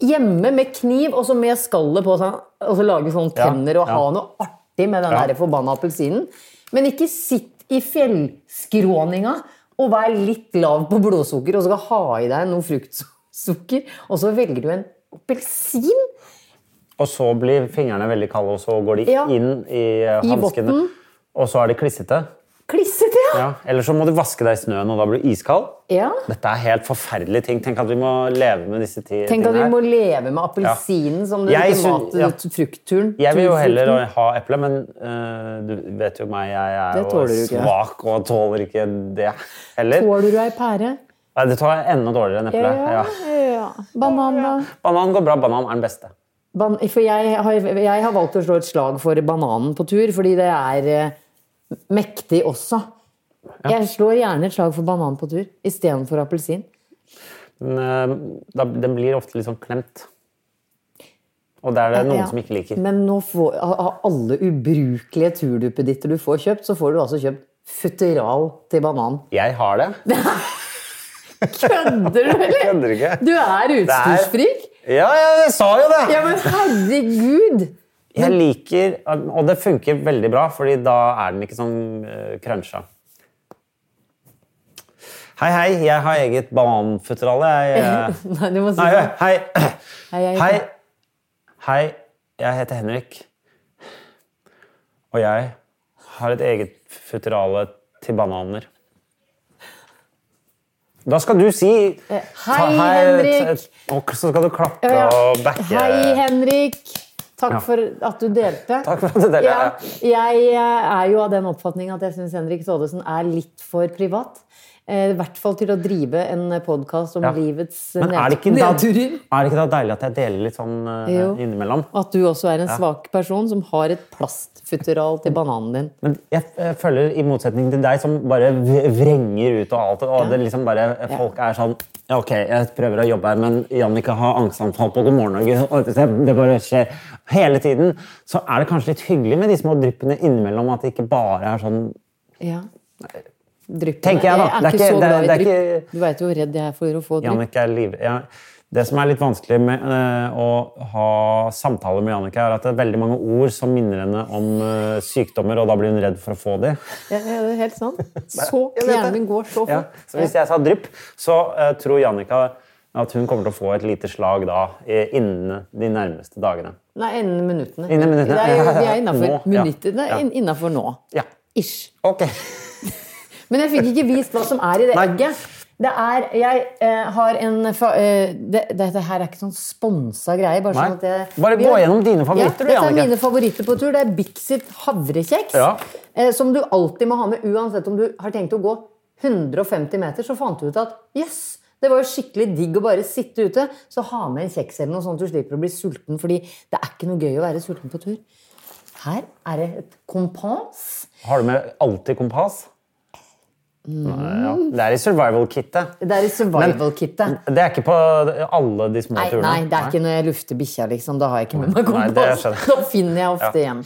[SPEAKER 2] hjemme med kniv og så med skallet på, sånn, og så lage sånn
[SPEAKER 1] Ja,
[SPEAKER 2] tenner og
[SPEAKER 1] ja.
[SPEAKER 2] ha noe artig med den
[SPEAKER 1] Ja.
[SPEAKER 2] der forbanna appelsinen. Men ikke sitt i fjellskråninga og vær litt lav på blodsukker og så skal ha i deg noe fruktsukker, og så velger du en appelsin
[SPEAKER 1] Og så blir fingrene veldig kalde, og så går de
[SPEAKER 2] Ja.
[SPEAKER 1] inn i eh,
[SPEAKER 2] I
[SPEAKER 1] hanskene.
[SPEAKER 2] botten.
[SPEAKER 1] Og så er det klissete.
[SPEAKER 2] klissete, ja!
[SPEAKER 1] Ja. Eller så må du vaske deg i snøen, og da blir du iskald.
[SPEAKER 2] ja.
[SPEAKER 1] Dette er helt forferdelige ting. Tenk at vi må leve med disse ti
[SPEAKER 2] Tenk at vi
[SPEAKER 1] tingene
[SPEAKER 2] må
[SPEAKER 1] her.
[SPEAKER 2] leve med appelsinen som den
[SPEAKER 1] Jeg
[SPEAKER 2] ultimate
[SPEAKER 1] syns-
[SPEAKER 2] fruktturen.
[SPEAKER 1] Jeg vil jo heller
[SPEAKER 2] Turfrukten.
[SPEAKER 1] ha eple, men eh, du vet jo meg, jeg er
[SPEAKER 2] Det
[SPEAKER 1] jo
[SPEAKER 2] tåler du ikke.
[SPEAKER 1] svak og tåler ikke det heller.
[SPEAKER 2] Tåler du ei pære?
[SPEAKER 1] Nei, det tar jeg enda dårligere enn eple. Ja.
[SPEAKER 2] ja. Banan, da?
[SPEAKER 1] Banan går bra. Banan er den beste.
[SPEAKER 2] Ban for jeg har, jeg har valgt å slå et slag for bananen på tur, fordi det er eh, mektig også. Jeg slår gjerne et slag for banan på tur istedenfor appelsin.
[SPEAKER 1] Men, eh, da, den blir ofte litt sånn klemt. Og det er det noen
[SPEAKER 2] Ja.
[SPEAKER 1] som ikke liker.
[SPEAKER 2] Men nå får, av av alle ubrukelige turduppeditter du får kjøpt, så får du altså kjøpt futteral til banan.
[SPEAKER 1] Jeg har det.
[SPEAKER 2] Kødder du, eller?
[SPEAKER 1] Kødder ikke.
[SPEAKER 2] Du er utstyrsfrik?
[SPEAKER 1] Ja, jeg sa jo det!
[SPEAKER 2] Ja, men herregud!
[SPEAKER 1] Jeg liker Og det funker veldig bra, fordi da er den ikke sånn uh, krønsja. Hei, hei. Jeg har eget bananføtterale. Jeg, eh,
[SPEAKER 2] Nei, du må si
[SPEAKER 1] Nei,
[SPEAKER 2] det.
[SPEAKER 1] hei.
[SPEAKER 2] Hei, jeg-
[SPEAKER 1] Hei. Hei. Jeg heter Henrik. Og jeg har et eget futterale til bananer. Da skal du si
[SPEAKER 2] Eh, Hei,
[SPEAKER 1] ta-
[SPEAKER 2] Henrik.
[SPEAKER 1] t- t- Og så skal du klappe
[SPEAKER 2] Ja, ja.
[SPEAKER 1] og backe.
[SPEAKER 2] Hei, Henrik. Takk
[SPEAKER 1] Eh, Ja.
[SPEAKER 2] for at du delte.
[SPEAKER 1] Takk for at du delte.
[SPEAKER 2] Ja, jeg eh, er jo av den oppfatning at jeg syns Henrik Thodesen er litt for privat. Eh, I hvert fall til å drive en podkast om
[SPEAKER 1] Ja.
[SPEAKER 2] livets eh,
[SPEAKER 1] Men er det, ikke
[SPEAKER 2] ned-
[SPEAKER 1] da,
[SPEAKER 2] nedturer.
[SPEAKER 1] er det ikke da deilig at jeg deler litt sånn eh,
[SPEAKER 2] Jo.
[SPEAKER 1] innimellom?
[SPEAKER 2] At du også er en svak person som har et plastfutteral til bananen din.
[SPEAKER 1] Men jeg, jeg føler, i motsetning til deg, som bare v- vrenger ut og alt og det liksom bare, Folk er sånn ja, OK, jeg prøver å jobbe her, men Jannicke har angstanfall på God morgen Norge. og Det det bare skjer hele tiden. Så er det kanskje litt hyggelig med de små dryppene innimellom. At det ikke bare er sånn
[SPEAKER 2] Ja. Dryppene.
[SPEAKER 1] Tenker jeg, da.
[SPEAKER 2] Jeg er
[SPEAKER 1] Det er
[SPEAKER 2] ikke
[SPEAKER 1] ikke-
[SPEAKER 2] så
[SPEAKER 1] det er-
[SPEAKER 2] glad i
[SPEAKER 1] det er
[SPEAKER 2] drypp. Du veit jo hvor redd jeg er for å få drypp.
[SPEAKER 1] Jannicke er liv... Ja, det som er litt vanskelig med eh, å ha samtaler med Jannicke, er at det er veldig mange ord som minner henne om eh, sykdommer, og da blir hun redd for å få de.
[SPEAKER 2] Ja, ja, det er helt sant. Så
[SPEAKER 1] Jeg vet
[SPEAKER 2] hjernen
[SPEAKER 1] det.
[SPEAKER 2] min går så
[SPEAKER 1] Ja,
[SPEAKER 2] fort.
[SPEAKER 1] så hvis jeg sa drypp, så eh, tror Jannika at hun kommer til å få et lite slag da eh, innen de nærmeste dagene.
[SPEAKER 2] Nei, innen minuttene.
[SPEAKER 1] Innen minuttene.
[SPEAKER 2] Det er, jo- vi
[SPEAKER 1] Ja, ja,
[SPEAKER 2] er
[SPEAKER 1] ja.
[SPEAKER 2] innafor
[SPEAKER 1] Nå, ja.
[SPEAKER 2] minuttene.
[SPEAKER 1] Ja.
[SPEAKER 2] inn- Innenfor nå.
[SPEAKER 1] Ja.
[SPEAKER 2] Ish.
[SPEAKER 1] Ok.
[SPEAKER 2] Men jeg fikk ikke vist hva som er i det
[SPEAKER 1] Nei.
[SPEAKER 2] egget. Det er, jeg eh, har en fa eh, det, Dette her er ikke sånn sponsa greie. Bare, sånn
[SPEAKER 1] Nei.
[SPEAKER 2] at jeg,
[SPEAKER 1] Bare
[SPEAKER 2] vi
[SPEAKER 1] gå gjennom dine favoritter, du,
[SPEAKER 2] Ja, dette
[SPEAKER 1] Jannicke.
[SPEAKER 2] er mine favoritter på tur. Det er Bixit havrekjeks.
[SPEAKER 1] Ja.
[SPEAKER 2] eh, som du alltid må ha med uansett om du har tenkt å gå 150 meter. Så fant du ut at jøss, det var jo skikkelig digg å bare sitte ute. Så ha med en kjeks eller noe sånt, du slipper å bli sulten. Fordi det er ikke noe gøy å være sulten på tur. Her er det et kompans.
[SPEAKER 1] Har du med alltid kompass?
[SPEAKER 2] Mm.
[SPEAKER 1] Nei, ja. Det er i survival-kittet.
[SPEAKER 2] Det er i survival-kittet.
[SPEAKER 1] Det er ikke på alle de små
[SPEAKER 2] Nei,
[SPEAKER 1] turene.
[SPEAKER 2] nei, det er ikke når jeg lufter bikkja, liksom. Da har jeg ikke med meg
[SPEAKER 1] Nei, det
[SPEAKER 2] kompass.
[SPEAKER 1] skjønner jeg.
[SPEAKER 2] Da finner jeg ofte igjen.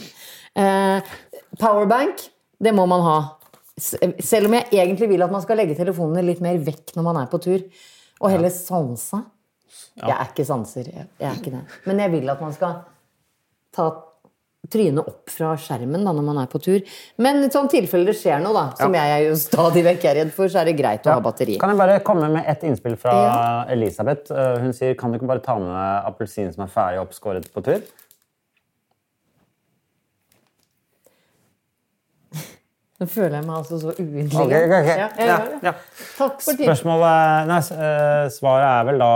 [SPEAKER 2] Eh, powerbank, det må man ha. S- eh, Selv om jeg egentlig vil at man skal legge telefonene litt mer vekk når man er på tur. Og heller sanse. Jeg er ikke sanser. Jeg jeg er ikke det. Men jeg vil at man skal ta trynet opp fra skjermen da, når man er på tur. Men i sånn tilfelle det skjer noe, da, som jeg er jo stadig vekk er redd for, så er det greit å ha batteri.
[SPEAKER 1] Kan jeg bare komme med ett innspill fra Elisabeth? Eh, Hun sier kan du ikke bare ta med appelsinen som er ferdig oppskåret på tur?
[SPEAKER 2] Nå føler jeg meg altså så uintelligent.
[SPEAKER 1] Ok, ok, ok.
[SPEAKER 2] Ja, jeg
[SPEAKER 1] Ja,
[SPEAKER 2] gjør det.
[SPEAKER 1] ja.
[SPEAKER 2] Takk for tipset.
[SPEAKER 1] Spørsmålet nei, s- eh, Svaret er vel da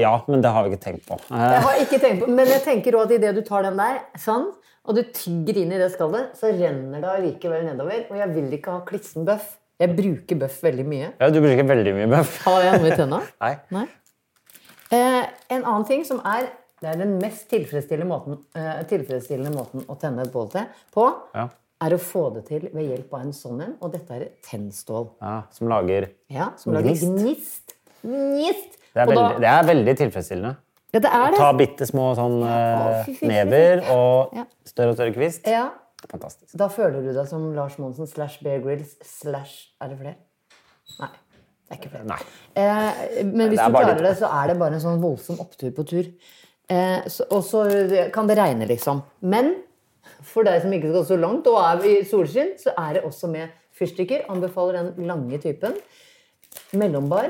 [SPEAKER 1] ja, men det har vi ikke tenkt på. Eh,
[SPEAKER 2] Jeg har ikke tenkt på, men jeg tenker også at idet du tar den der, sånn, og du tygger inn i det skallet, så renner det allikevel nedover. Og jeg vil ikke ha klissen bøff. Jeg bruker bøff veldig mye.
[SPEAKER 1] Ja, du bruker veldig mye bøff.
[SPEAKER 2] Har jeg noe i tønna?
[SPEAKER 1] Nei.
[SPEAKER 2] Nei. Eh, en annen ting som er Det er den mest tilfredsstillende måten, eh, tilfredsstillende måten å tenne et bål til på,
[SPEAKER 1] Ja.
[SPEAKER 2] er å få det til ved hjelp av en sånn en, og dette er et tennstål.
[SPEAKER 1] Ja, som lager
[SPEAKER 2] Ja, som lager
[SPEAKER 1] Gnist.
[SPEAKER 2] gnist. Gnist!
[SPEAKER 1] det er,
[SPEAKER 2] Og da-
[SPEAKER 1] veldig, det er veldig tilfredsstillende.
[SPEAKER 2] ja, det er det.
[SPEAKER 1] Ta bitte små sånn
[SPEAKER 2] Å,
[SPEAKER 1] eh,
[SPEAKER 2] fy, fy, fy, fy.
[SPEAKER 1] never og
[SPEAKER 2] Ja.
[SPEAKER 1] større og større kvist.
[SPEAKER 2] Ja.
[SPEAKER 1] Fantastisk.
[SPEAKER 2] Da føler du deg som Lars Monsen slash Bear Grylls slash Er det flere? Nei. Det er ikke flere.
[SPEAKER 1] Nei.
[SPEAKER 2] Eh, men hvis
[SPEAKER 1] Det er
[SPEAKER 2] du
[SPEAKER 1] bare
[SPEAKER 2] klarer
[SPEAKER 1] litt-
[SPEAKER 2] det, så er det bare en sånn voldsom opptur på tur. Eh, så, og så kan det regne, liksom. Men for deg som ikke skal så langt og er i solskinn, så er det også med fyrstikker. Anbefaler den lange typen. Mellombar.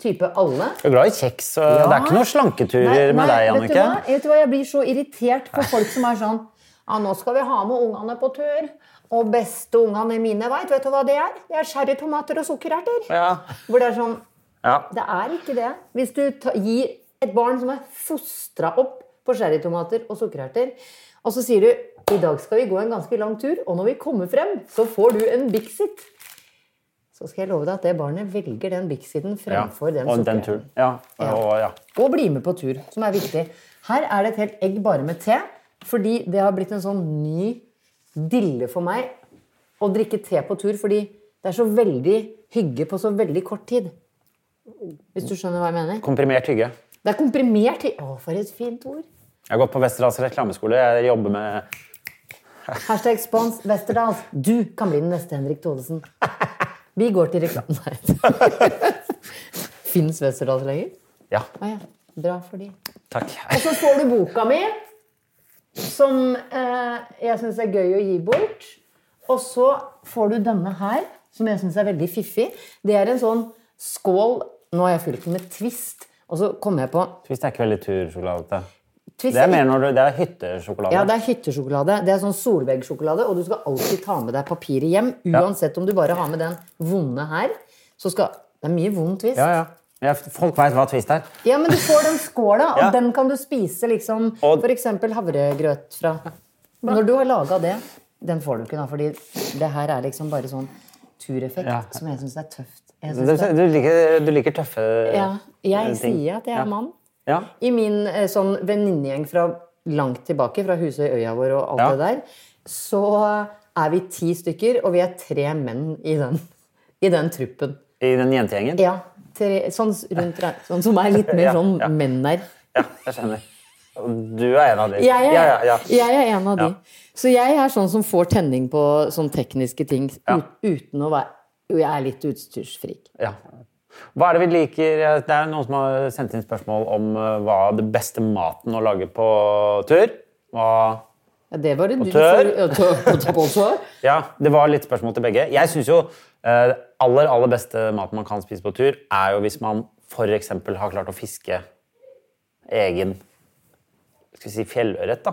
[SPEAKER 2] Type alle.
[SPEAKER 1] Du er glad i kjeks. og Det er ikke noen slanketurer
[SPEAKER 2] Nei,
[SPEAKER 1] med
[SPEAKER 2] nei,
[SPEAKER 1] deg,
[SPEAKER 2] Vet du,
[SPEAKER 1] Jannicke.
[SPEAKER 2] hva? vet du hva, jeg blir så irritert på folk som er sånn Ja, nå skal vi ha med ungene på tur. Og beste ungene mine veit, vet du hva det er? Det er sherrytomater og sukkererter.
[SPEAKER 1] Ja.
[SPEAKER 2] Hvor det er sånn
[SPEAKER 1] Ja.
[SPEAKER 2] Det er ikke det. Hvis du ta, gir et barn som er fostra opp på sherrytomater og sukkererter, og så sier du i dag skal vi gå en ganske lang tur, og når vi kommer frem, så får du en Bixit. Så skal jeg love deg at det barnet velger den Bixiten
[SPEAKER 1] Ja.
[SPEAKER 2] fremfor den
[SPEAKER 1] Og den
[SPEAKER 2] sukkererten.
[SPEAKER 1] turen. Ja.
[SPEAKER 2] Ja.
[SPEAKER 1] Og, ja.
[SPEAKER 2] Og bli med på tur, som er viktig. Her er det et helt egg bare med te, fordi det har blitt en sånn ny dille for meg å drikke te på tur, fordi det er så veldig hygge på så veldig kort tid. Hvis du skjønner hva jeg mener?
[SPEAKER 1] Komprimert hygge.
[SPEAKER 2] Det er komprimert til Å, for et fint ord!
[SPEAKER 1] Jeg har gått på Westerdals reklameskole. Jeg jobber med
[SPEAKER 2] Hashtag spons Westerdals. Du kan bli den neste Henrik Thodesen. Vi går til reklamen. Fins Westerdals lenger?
[SPEAKER 1] Ja.
[SPEAKER 2] Å ja. Bra for de.
[SPEAKER 1] Takk.
[SPEAKER 2] Og så får du boka mi, som eh, jeg syns er gøy å gi bort. Og så får du denne her, som jeg syns er veldig fiffig. Det er en sånn skål Nå har jeg fylt den med Twist. Og så kom jeg på
[SPEAKER 1] Twist er ikke veldig tursjokolade.
[SPEAKER 2] Twist
[SPEAKER 1] Det er mer når du, det er hyttesjokolade.
[SPEAKER 2] Ja, det er hyttesjokolade. Det er sånn solveggsjokolade, og du skal alltid ta med deg papiret hjem. Uansett om du bare har med den vonde her, så skal Det er mye vond twist.
[SPEAKER 1] ja, ja. Ja, Folk veit hva Twist er.
[SPEAKER 2] Ja, men du får den skåla, og
[SPEAKER 1] Ja.
[SPEAKER 2] den kan du spise liksom
[SPEAKER 1] Og-
[SPEAKER 2] for eksempel havregrøt fra. Når du har laga det Den får du ikke, da, fordi det her er liksom bare sånn tureffekt
[SPEAKER 1] Ja.
[SPEAKER 2] som jeg syns er tøft. Jeg,
[SPEAKER 1] Du,
[SPEAKER 2] synes det,
[SPEAKER 1] du, liker, du liker tøffe eh,
[SPEAKER 2] ja, jeg
[SPEAKER 1] sånn- ting.
[SPEAKER 2] sier at jeg
[SPEAKER 1] Ja.
[SPEAKER 2] er mann.
[SPEAKER 1] Ja.
[SPEAKER 2] I min eh, sånn venninnegjeng fra langt tilbake, fra Husøyøya vår og alt
[SPEAKER 1] Ja.
[SPEAKER 2] det der, så er vi ti stykker, og vi er tre menn i den, i den truppen.
[SPEAKER 1] I den jentegjengen?
[SPEAKER 2] Ja, tre, sånn, s- rundt, re- sånn som er litt mer
[SPEAKER 1] Ja,
[SPEAKER 2] sånn
[SPEAKER 1] ja.
[SPEAKER 2] menn der.
[SPEAKER 1] Ja, jeg skjønner. Og Du er en av de.
[SPEAKER 2] Jeg er,
[SPEAKER 1] ja, ja, ja.
[SPEAKER 2] jeg er en av de. Så jeg er sånn som får tenning på sånn tekniske ting
[SPEAKER 1] Ja.
[SPEAKER 2] ut, uten å være Jo, jeg er litt utstyrsfrik.
[SPEAKER 1] Ja. Hva er det vi liker? Det er noen som har sendt inn spørsmål om eh, hva det beste maten å lage på tur. Hva...
[SPEAKER 2] Ja, det var det du
[SPEAKER 1] tør.
[SPEAKER 2] for- og tør- og tør- og tør.
[SPEAKER 1] Ja, det var litt spørsmål til begge. Jeg syns jo eh, det aller, aller beste maten man kan spise på tur, er jo hvis man f.eks. har klart å fiske egen skal vi si fjellørret, da.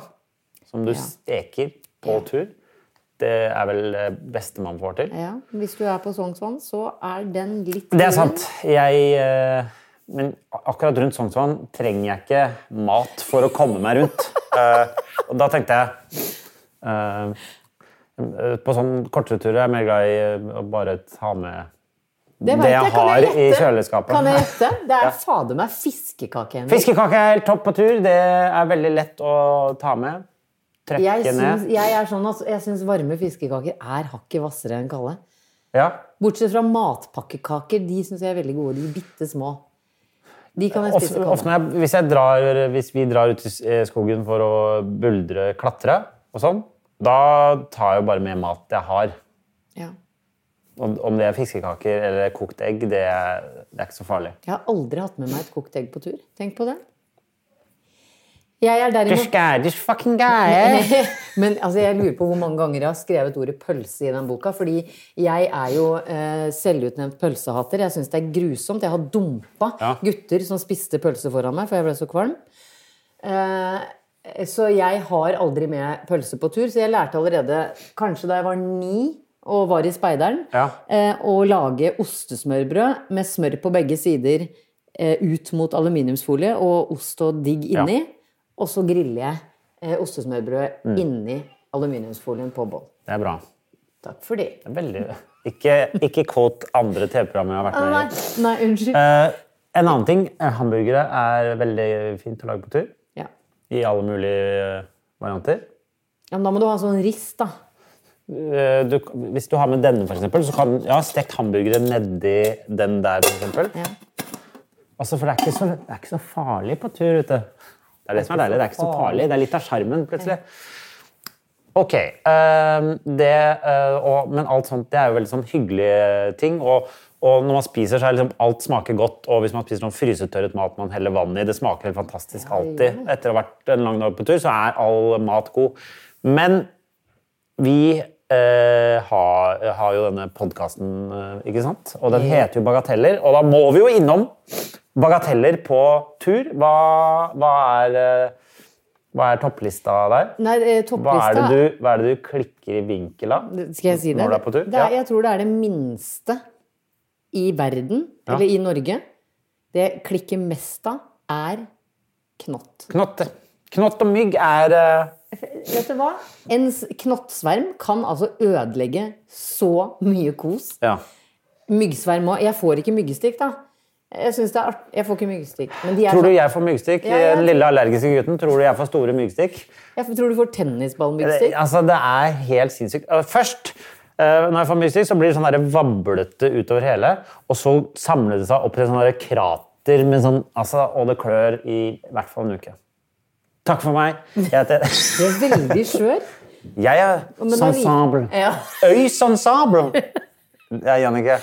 [SPEAKER 1] Som du steker på tur. Det er vel det beste man får til.
[SPEAKER 2] Ja, hvis du er på Sognsvann, så er den litt
[SPEAKER 1] Det er sant. Jeg, eh, men ak- akkurat rundt Sognsvann trenger jeg ikke mat for å komme meg rundt. Eh, og da tenkte jeg eh, eh, På sånn kortere turer er jeg mer glad i eh, å bare ta med
[SPEAKER 2] Det, vet
[SPEAKER 1] det jeg
[SPEAKER 2] Kan
[SPEAKER 1] har i
[SPEAKER 2] gjette?
[SPEAKER 1] kjøleskapet.
[SPEAKER 2] Kan jeg gjette? Det er fader meg fiskekake. Henrik.
[SPEAKER 1] Fiskekake er helt topp på tur. Det er veldig lett å ta med.
[SPEAKER 2] Jeg
[SPEAKER 1] Trekke
[SPEAKER 2] syns,
[SPEAKER 1] ned.
[SPEAKER 2] jeg, er sånn, at jeg syns varme fiskekaker er hakket hvassere enn kalde.
[SPEAKER 1] Ja.
[SPEAKER 2] Bortsett fra matpakkekaker. De syns jeg er veldig gode. De er bitte små. De kan jeg
[SPEAKER 1] Ofte,
[SPEAKER 2] spise
[SPEAKER 1] ofte
[SPEAKER 2] kalde.
[SPEAKER 1] når jeg, hvis, jeg drar, hvis vi drar ut i s- eh, skogen for å buldre, klatre og sånn, da tar jeg jo bare med mat jeg har.
[SPEAKER 2] Ja.
[SPEAKER 1] Om, om det er fiskekaker eller kokt egg, det er, det er ikke så farlig.
[SPEAKER 2] Jeg har aldri hatt med meg et kokt egg på tur. Tenk på det. Jeg er derimot
[SPEAKER 1] fucking guy.
[SPEAKER 2] Men altså, jeg lurer på hvor mange ganger jeg har skrevet ordet pølse i den boka. Fordi jeg er jo eh, selvutnevnt pølsehater. Jeg syns det er grusomt. Jeg har dumpa
[SPEAKER 1] Ja.
[SPEAKER 2] gutter som spiste pølse foran meg, for jeg ble så kvalm. Eh, så jeg har aldri med pølse på tur. Så jeg lærte allerede, kanskje da jeg var ni og var i Speideren,
[SPEAKER 1] Ja.
[SPEAKER 2] eh, å lage ostesmørbrød med smør på begge sider eh, ut mot aluminiumsfolie og ost og digg inni. Og så griller jeg eh, ostesmørbrød
[SPEAKER 1] Mm.
[SPEAKER 2] inni aluminiumsfolien på bånn.
[SPEAKER 1] Det er bra.
[SPEAKER 2] Takk for det.
[SPEAKER 1] Det er veldig... Ikke, ikke kvote andre TV-programmer jeg har vært
[SPEAKER 2] Nei,
[SPEAKER 1] med i.
[SPEAKER 2] Ah, nei, unnskyld.
[SPEAKER 1] Eh, en annen ting, eh, hamburgere er veldig fint å lage på tur.
[SPEAKER 2] Ja.
[SPEAKER 1] I alle mulige eh, varianter.
[SPEAKER 2] ja, men da må du ha en sånn rist, da.
[SPEAKER 1] Eh, du, hvis du har med denne, for eksempel, så kan ja, stekt hamburgere nedi den der, for eksempel.
[SPEAKER 2] Ja.
[SPEAKER 1] Altså, for det er, ikke så, det er ikke så farlig på tur ute. Det er det som er deilig. Det er ikke så farlig. Det er litt av sjarmen, plutselig. Ok. ehm, det, eh, og, men alt sånt det er jo veldig sånn hyggelige ting. Og, og når man spiser, så er liksom alt smaker godt. Og hvis man spiser noen frysetørret mat man heller vann i, det smaker helt fantastisk alltid. Etter å ha vært en lang dag på tur, så er all mat god. Men vi eh, har, har jo denne podkasten, eh, ikke sant? Og den heter jo Bagateller. Og da må vi jo innom bagateller på tur. Hva, hva, er, eh, hva er topplista der?
[SPEAKER 2] Nei,
[SPEAKER 1] Hva
[SPEAKER 2] eh,
[SPEAKER 1] er,
[SPEAKER 2] topplista
[SPEAKER 1] det du, hva er det du klikker i vinkel av?
[SPEAKER 2] Skal jeg si det?
[SPEAKER 1] Når du er på tur?
[SPEAKER 2] Det er,
[SPEAKER 1] ja.
[SPEAKER 2] Jeg tror det er det minste i verden, eller i Norge. Det jeg klikker mest av, er knott.
[SPEAKER 1] Knott. Knott og mygg er eh,
[SPEAKER 2] Vet du hva? En s- knottsverm kan altså ødelegge så mye kos.
[SPEAKER 1] Ja.
[SPEAKER 2] Myggsverm òg. Jeg får ikke myggstikk, da. Jeg synes det er art... Jeg får ikke myggstikk. Men de er
[SPEAKER 1] Tror du
[SPEAKER 2] sånn-
[SPEAKER 1] jeg får myggstikk?
[SPEAKER 2] Ja, ja.
[SPEAKER 1] Den lille allergiske gutten, tror du jeg får store myggstikk?
[SPEAKER 2] jeg tror du får tennisballmyggstikk.
[SPEAKER 1] Det, altså, det er helt sinnssykt. Eh, Først, eh, når jeg får musikk, så blir det sånn der vablete utover hele, og så samler det seg opp til sånn der krater, med sånn, altså, og det klør i hvert fall en uke. Takk for meg. Jeg heter
[SPEAKER 2] Du er veldig skjør.
[SPEAKER 1] Jeg er
[SPEAKER 2] Men da-
[SPEAKER 1] Sansamble.
[SPEAKER 2] Ja.
[SPEAKER 1] Øys Sansamble. Det er Jannicke.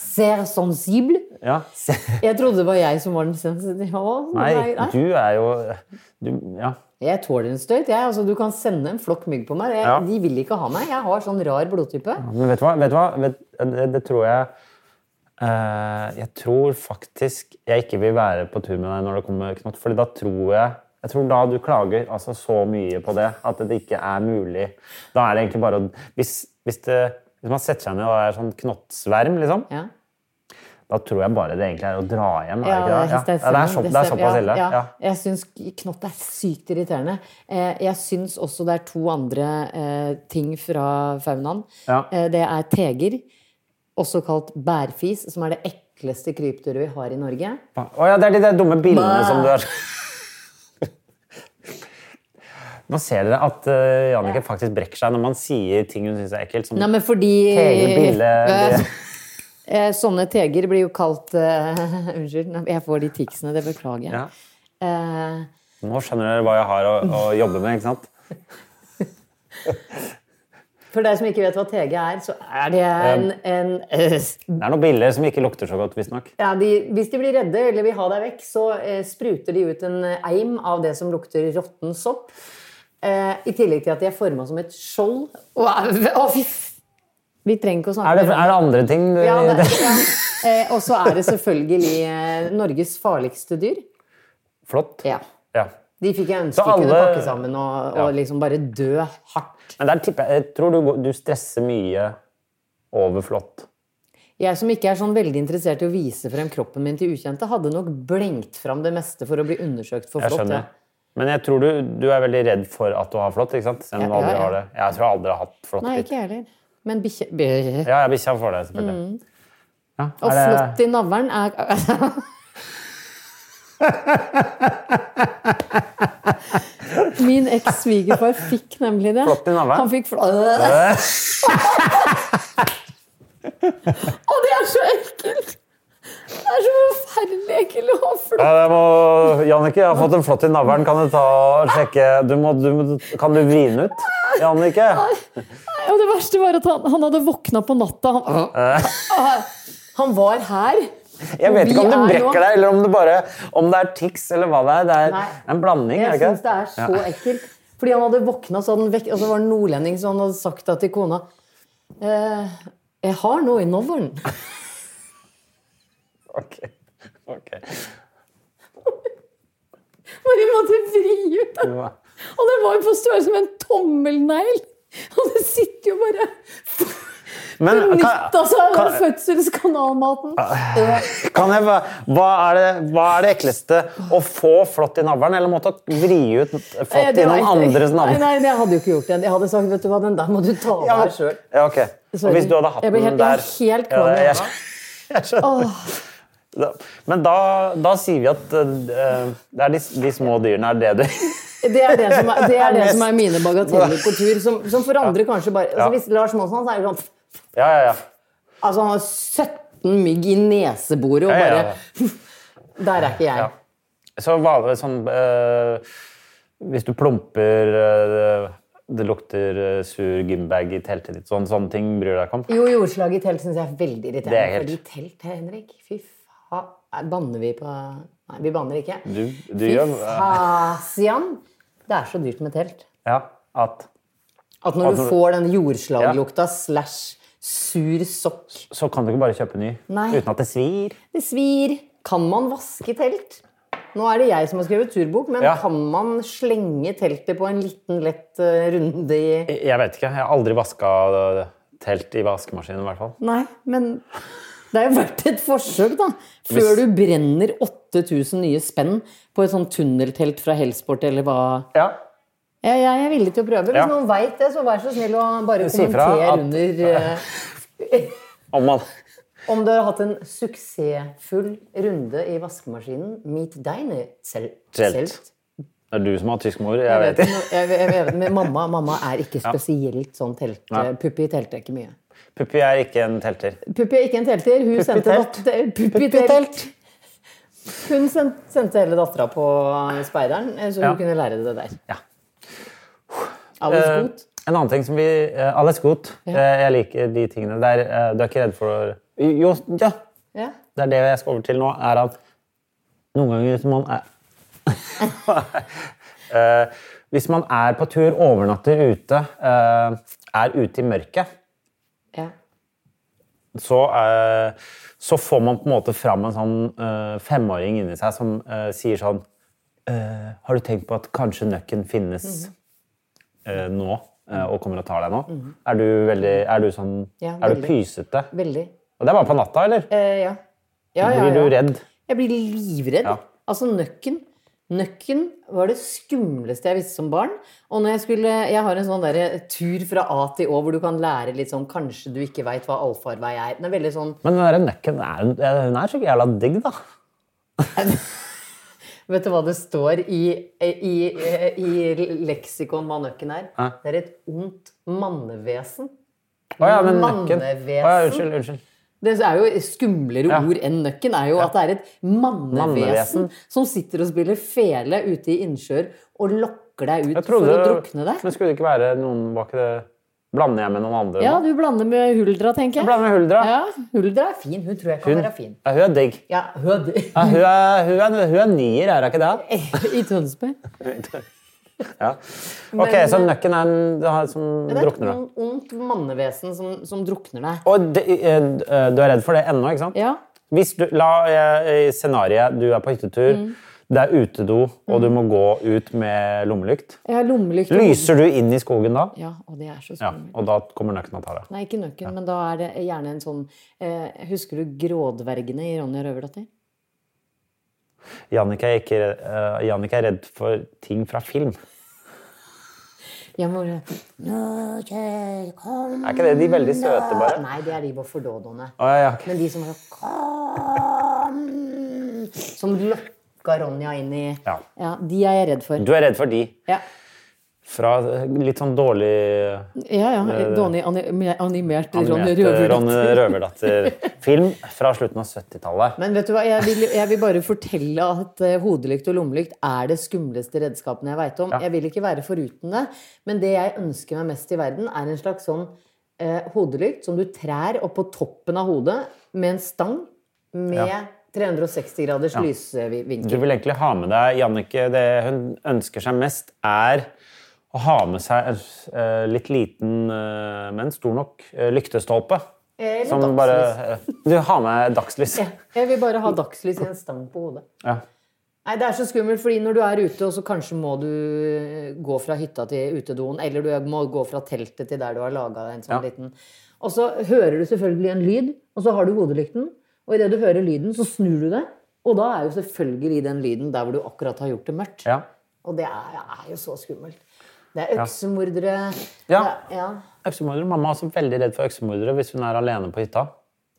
[SPEAKER 2] Ser sensible.
[SPEAKER 1] Ja.
[SPEAKER 2] Jeg trodde det var jeg som var den sensitive. Å,
[SPEAKER 1] Nei, du er jo du, Ja.
[SPEAKER 2] Jeg tåler en støyt. Jeg, altså, du kan sende en flokk mygg på meg. Jeg,
[SPEAKER 1] Ja.
[SPEAKER 2] De vil ikke ha meg. Jeg har sånn rar blodtype.
[SPEAKER 1] Men vet du hva? Vet du hva? Vet, det, det tror jeg eh, Jeg tror faktisk jeg ikke vil være på tur med deg når det kommer knott, fordi da tror jeg jeg tror da du klager altså så mye på det at det ikke er mulig. Da er det egentlig bare å Hvis, hvis, det, hvis man setter seg ned og er sånn knottsverm, liksom,
[SPEAKER 2] Ja.
[SPEAKER 1] da tror jeg bare det egentlig er å dra hjem. Er
[SPEAKER 2] Ja,
[SPEAKER 1] det, ikke det? Ja. Ja, det, er så, det er
[SPEAKER 2] stemmer.
[SPEAKER 1] såpass ille.
[SPEAKER 2] Ja, ja.
[SPEAKER 1] Ja.
[SPEAKER 2] Jeg syns knott er sykt irriterende. Eh, Jeg syns også det er to andre eh, ting fra faunaen.
[SPEAKER 1] Ja.
[SPEAKER 2] Eh, Det er teger, også kalt bærfis, som er det ekleste krypdyret vi har i Norge.
[SPEAKER 1] Å ja, det er de der dumme bildene
[SPEAKER 2] Bæ.
[SPEAKER 1] som du er Nå ser dere at uh, Jannicke faktisk brekker seg når man sier ting hun syns er ekkelt. Som
[SPEAKER 2] Nei, men fordi
[SPEAKER 1] Teger, bille
[SPEAKER 2] Eh,
[SPEAKER 1] det-
[SPEAKER 2] eh, Sånne teger blir jo kalt eh, Unnskyld, nei, jeg får de ticsene. Det beklager jeg.
[SPEAKER 1] ja.
[SPEAKER 2] Eh,
[SPEAKER 1] Nå skjønner dere hva jeg har å, å jobbe med, ikke sant?
[SPEAKER 2] For deg som ikke vet hva TG er, så er det en, en eh,
[SPEAKER 1] Det er noen biller som ikke lukter så godt, visstnok.
[SPEAKER 2] ja, de, Hvis de blir redde eller vil ha deg vekk, så eh, spruter de ut en eim av det som lukter råtten sopp. Eh, I tillegg til at de er forma som et skjold. Å, å, fy f- Vi trenger ikke å snakke
[SPEAKER 1] Er, det-
[SPEAKER 2] mer om
[SPEAKER 1] er det andre ting du
[SPEAKER 2] ja, det. Ja. Eh, Og så er det selvfølgelig eh, Norges farligste dyr.
[SPEAKER 1] Flott.
[SPEAKER 2] Ja.
[SPEAKER 1] Ja.
[SPEAKER 2] De fikk jeg ønske
[SPEAKER 1] Så alle-
[SPEAKER 2] kunne pakke sammen og, og
[SPEAKER 1] Ja.
[SPEAKER 2] liksom bare dø hardt.
[SPEAKER 1] Men der tipper jeg, jeg tror du, går- du stresser mye over flott.
[SPEAKER 2] Jeg som ikke er sånn veldig interessert i å vise frem kroppen min til ukjente, hadde nok blengt frem det meste for å bli undersøkt for
[SPEAKER 1] Jeg
[SPEAKER 2] flott.
[SPEAKER 1] skjønner.
[SPEAKER 2] ja.
[SPEAKER 1] Men jeg tror du, du er veldig redd for at du har flott, ikke sant? Selv om du
[SPEAKER 2] Ja,
[SPEAKER 1] aldri
[SPEAKER 2] ja,
[SPEAKER 1] har
[SPEAKER 2] ja.
[SPEAKER 1] det. Jeg tror jeg aldri har hatt flott.
[SPEAKER 2] Nei, ikke jeg heller. Men bikkje bæ.
[SPEAKER 1] Ja, jeg bikkja får det, selvfølgelig. Ja,
[SPEAKER 2] Mm. Og
[SPEAKER 1] er det-
[SPEAKER 2] flott i navlen er Min eks-svigerfar fikk nemlig det.
[SPEAKER 1] Flott i navlen?
[SPEAKER 2] Han fikk flott Å, det er så ekkelt! Det er så forferdelig ekkelt å ha flott.
[SPEAKER 1] Ja, jeg må, Jannicke, jeg har fått en flott i navlen. Kan du ta og sjekke du må, du, må- Kan du vri den ut? Jannicke?
[SPEAKER 2] Nei, Og det verste var at han, han hadde våkna på natta. Han, han var her.
[SPEAKER 1] Jeg vet ikke om
[SPEAKER 2] Vi
[SPEAKER 1] du
[SPEAKER 2] er nå-
[SPEAKER 1] brekker deg, eller om det bare Om det er tics, eller hva det er. Det er
[SPEAKER 2] Nei.
[SPEAKER 1] en blanding. er
[SPEAKER 2] Jeg
[SPEAKER 1] det ikke
[SPEAKER 2] syns det er så
[SPEAKER 1] Ja.
[SPEAKER 2] ekkelt. Fordi han hadde våkna, så hadde han vekk, og så var det en nordlending som han hadde sagt da til kona eh, 'Jeg har noe i navlen'.
[SPEAKER 1] Ok. Ok.
[SPEAKER 2] Men jeg måtte vri ut den.
[SPEAKER 1] Ja.
[SPEAKER 2] Og den var jo på størrelse med en tommelnegl! Og det sitter jo bare
[SPEAKER 1] Men Ah, kan,
[SPEAKER 2] Benytta seg av den
[SPEAKER 1] kan,
[SPEAKER 2] fødselskanalmaten.
[SPEAKER 1] kan jeg bare Hva er det, hva er det ekleste? Å få flått i navlen, eller måtte vri ut
[SPEAKER 2] Nei,
[SPEAKER 1] flått
[SPEAKER 2] Eh, det
[SPEAKER 1] i noen
[SPEAKER 2] vet jeg ikke.
[SPEAKER 1] andres navn?
[SPEAKER 2] Nei, nei, det hadde jo ikke gjort det. Jeg hadde sagt 'vet du hva, den der må du ta av
[SPEAKER 1] Ja, men-
[SPEAKER 2] deg sjøl'.
[SPEAKER 1] Ja, ok. Og
[SPEAKER 2] Sorry.
[SPEAKER 1] hvis du hadde hatt
[SPEAKER 2] Jeg ble
[SPEAKER 1] den
[SPEAKER 2] helt-
[SPEAKER 1] der
[SPEAKER 2] jeg er helt klam i
[SPEAKER 1] det- jeg-
[SPEAKER 2] øynene.
[SPEAKER 1] jeg skjønner. Da- Men da, da sier vi at eh, det er de, de små dyrene er det du
[SPEAKER 2] Det er det som er, det er, det
[SPEAKER 1] Mest.
[SPEAKER 2] som er mine bagateller på tur, som, som for andre kanskje bare altså, Hvis Lars Monsen så er det sånn
[SPEAKER 1] Ja, ja, ja.
[SPEAKER 2] Altså, han har 17 mygg i neseboret og
[SPEAKER 1] Ja,
[SPEAKER 2] bare
[SPEAKER 1] ja, ja.
[SPEAKER 2] Der er ikke jeg.
[SPEAKER 1] Ja. Så vanlig sånn eh, Hvis du plumper eh, Det lukter eh, sur gymbag i teltet ditt, sånn, sånne ting bryr du deg ikke om?
[SPEAKER 2] Jo, jordslag i telt syns jeg er veldig irriterende.
[SPEAKER 1] Det er helt-
[SPEAKER 2] Fordi telt, Henrik Fy faen. Nei, Banner vi på Nei, vi banner ikke.
[SPEAKER 1] Du, du
[SPEAKER 2] Fy
[SPEAKER 1] gjør
[SPEAKER 2] fasian! Det er så dyrt med telt.
[SPEAKER 1] ja, at
[SPEAKER 2] At når du
[SPEAKER 1] Altså-
[SPEAKER 2] får den jordslaglukta slash sur sokk
[SPEAKER 1] Så kan du ikke bare kjøpe ny
[SPEAKER 2] Nei.
[SPEAKER 1] uten at det svir.
[SPEAKER 2] Det svir. Kan man vaske telt? Nå er det jeg som har skrevet turbok, men
[SPEAKER 1] Ja.
[SPEAKER 2] kan man slenge teltet på en liten, lett eh, runde i
[SPEAKER 1] Jeg vet ikke. Jeg har aldri vaska eh, telt i vaskemaskinen, i hvert fall.
[SPEAKER 2] Nei, men det er jo verdt et forsøk, da. Før du brenner 8000 nye spenn på et sånt tunneltelt fra Hellsport eller hva
[SPEAKER 1] Ja,
[SPEAKER 2] Ja, jeg er villig til å prøve. Hvis
[SPEAKER 1] Ja.
[SPEAKER 2] noen veit det, så vær så snill å bare
[SPEAKER 1] Si fra
[SPEAKER 2] kommentere
[SPEAKER 1] at-
[SPEAKER 2] under eh,
[SPEAKER 1] Om man
[SPEAKER 2] om du har hatt en suksessfull runde i vaskemaskinen. Meet deine selt.
[SPEAKER 1] Telt.
[SPEAKER 2] selt.
[SPEAKER 1] Det er du som har tysk mor, jeg,
[SPEAKER 2] Jeg
[SPEAKER 1] vet
[SPEAKER 2] vet,
[SPEAKER 1] ikke.
[SPEAKER 2] ikke. jeg, jeg, jeg, men mamma, mamma er ikke spesielt sånn telt...
[SPEAKER 1] Nei.
[SPEAKER 2] Puppi telter ikke mye.
[SPEAKER 1] Puppi er ikke en telter.
[SPEAKER 2] Puppi er ikke en telter. Hun sendte
[SPEAKER 1] telt.
[SPEAKER 2] datter- Puppi
[SPEAKER 1] Puppi
[SPEAKER 2] telt. Hun sendte, sendte hele dattera på Speideren, eh, så hun
[SPEAKER 1] Ja.
[SPEAKER 2] kunne lære det der.
[SPEAKER 1] Ja.
[SPEAKER 2] I was
[SPEAKER 1] Eh,
[SPEAKER 2] good.
[SPEAKER 1] En annen ting som vi eh, Alex Goth. Eh, jeg liker de tingene der. Eh, du er ikke redd for å Jo, ja.
[SPEAKER 2] Ja.
[SPEAKER 1] Det er det jeg skal over til nå, er at noen ganger hvis man er Eh, Hvis man er på tur, overnatter ute, eh, er ute i mørket,
[SPEAKER 2] ja.
[SPEAKER 1] så, eh, så får man på en måte fram en sånn eh, femåring inni seg som eh, sier sånn eh, Har du tenkt på at kanskje nøkken finnes eh, nå, eh, og kommer og tar deg nå? Er du veldig Er du sånn
[SPEAKER 2] Mhm. Ja,
[SPEAKER 1] Er du
[SPEAKER 2] veldig.
[SPEAKER 1] pysete?
[SPEAKER 2] Veldig.
[SPEAKER 1] Og det er bare på natta, eller?
[SPEAKER 2] Eh, ja. Ja, ja,
[SPEAKER 1] Blir du
[SPEAKER 2] ja.
[SPEAKER 1] redd?
[SPEAKER 2] Jeg blir livredd.
[SPEAKER 1] Ja.
[SPEAKER 2] Altså, nøkken Nøkken var det skumleste jeg visste som barn. Og når jeg skulle Jeg har en sånn der tur fra A til Å hvor du kan lære litt sånn Kanskje du ikke veit hva allfarvei er. Den er veldig sånn
[SPEAKER 1] Men den der nøkken, er, hun- hun er så jævla digg, da.
[SPEAKER 2] Vet du hva det står i, i, i leksikon hva nøkken er? Det er et ondt mannevesen.
[SPEAKER 1] Å ja, men nøkken Å
[SPEAKER 2] Mannevesen.
[SPEAKER 1] ja, Unnskyld. unnskyld.
[SPEAKER 2] Det er jo skumlere
[SPEAKER 1] Ja.
[SPEAKER 2] ord enn nøkken. er jo at det er et mannevesen,
[SPEAKER 1] Mannevesen.
[SPEAKER 2] som sitter og spiller fele ute i innsjøer og lokker deg ut
[SPEAKER 1] Jeg trodde,
[SPEAKER 2] for å drukne deg.
[SPEAKER 1] Men skulle det ikke være noen Var ikke det Blander jeg med noen andre?
[SPEAKER 2] Ja,
[SPEAKER 1] nå?
[SPEAKER 2] du blander med Huldra, tenker jeg.
[SPEAKER 1] Jeg blander med Huldra.
[SPEAKER 2] Ja, Huldra er fin. Hun tror jeg kan
[SPEAKER 1] Hun,
[SPEAKER 2] være fin.
[SPEAKER 1] ja, hun er digg.
[SPEAKER 2] Ja, hun,
[SPEAKER 1] Ja, hun, er, hun, er, hun er nier, er hun ikke det?
[SPEAKER 2] I Tønsberg.
[SPEAKER 1] Ja. Ok,
[SPEAKER 2] Men-
[SPEAKER 1] Så nøkken er en det har- som
[SPEAKER 2] Det er et
[SPEAKER 1] drukner deg.
[SPEAKER 2] on- ondt mannevesen som, som drukner deg.
[SPEAKER 1] Og det, eh, du er redd for det ennå, ikke sant?
[SPEAKER 2] Ja.
[SPEAKER 1] Hvis du, la eh, i scenarioet du er på hyttetur,
[SPEAKER 2] Mm.
[SPEAKER 1] det er utedo, og du må gå ut med lommelykt.
[SPEAKER 2] Jeg har lommelykt. og-
[SPEAKER 1] Lyser du inn i skogen da?
[SPEAKER 2] Ja, og det er så
[SPEAKER 1] Ja,
[SPEAKER 2] skummelt.
[SPEAKER 1] og da kommer nøkken og tar deg.
[SPEAKER 2] Nei, ikke nøkken, men da er det gjerne en sånn eh, Husker du Grådvergene i Ronja Røverdatter?
[SPEAKER 1] Jannicke er, ikke, eh, Jannicke er redd for ting fra film.
[SPEAKER 2] Jeg må bare Norge, kom
[SPEAKER 1] Er ikke det de veldig søte, bare?
[SPEAKER 2] Nei, det er de Boffordodoene.
[SPEAKER 1] Å, ja, ja, ok.
[SPEAKER 2] Men de som var sånn Kom! Som lokka Ronja inn i
[SPEAKER 1] Ja.
[SPEAKER 2] De er jeg redd for.
[SPEAKER 1] Du er redd for de
[SPEAKER 2] Ja,
[SPEAKER 1] fra eh, litt sånn dårlig
[SPEAKER 2] ja. ja.
[SPEAKER 1] eh,
[SPEAKER 2] Donny ani- animert
[SPEAKER 1] animerte
[SPEAKER 2] Ronja
[SPEAKER 1] eh, Ronny
[SPEAKER 2] Røverdatter.
[SPEAKER 1] Røverdatter-film fra slutten av 70-tallet.
[SPEAKER 2] Men vet du hva, jeg vil, jeg vil bare fortelle at eh, hodelykt og lommelykt er det skumleste redskapen jeg veit om. Jeg vil ikke være foruten det, men det jeg ønsker meg mest i verden, er en slags sånn eh, hodelykt som du trær opp på toppen av hodet med en stang med
[SPEAKER 1] Ja.
[SPEAKER 2] 360 graders
[SPEAKER 1] Du
[SPEAKER 2] lysvinkel.
[SPEAKER 1] vil egentlig ha med deg Jannicke Det hun ønsker seg mest, er å ha med seg en eh, litt liten, eh, men stor nok eh, lyktestolpe.
[SPEAKER 2] Eller
[SPEAKER 1] Som
[SPEAKER 2] dagslys.
[SPEAKER 1] bare eh, Du har med dagslys.
[SPEAKER 2] Ja, Jeg vil bare ha dagslys i en stang på hodet.
[SPEAKER 1] Ja.
[SPEAKER 2] Nei, Det er så skummelt, fordi når du er ute, og så kanskje må du eh, gå fra hytta til utedoen, eller du må gå fra teltet til der du har laga en sånn
[SPEAKER 1] Ja.
[SPEAKER 2] liten Og så hører du selvfølgelig en lyd, og så har du hodelykten, og idet du hører lyden, så snur du deg, og da er jo selvfølgelig den lyden der hvor du akkurat har gjort det mørkt.
[SPEAKER 1] Ja.
[SPEAKER 2] Og det er, er jo så skummelt. Det er øksemordere
[SPEAKER 1] Ja.
[SPEAKER 2] Det er, ja.
[SPEAKER 1] Øksemordere. Mamma er også veldig redd for øksemordere hvis hun er alene på hytta.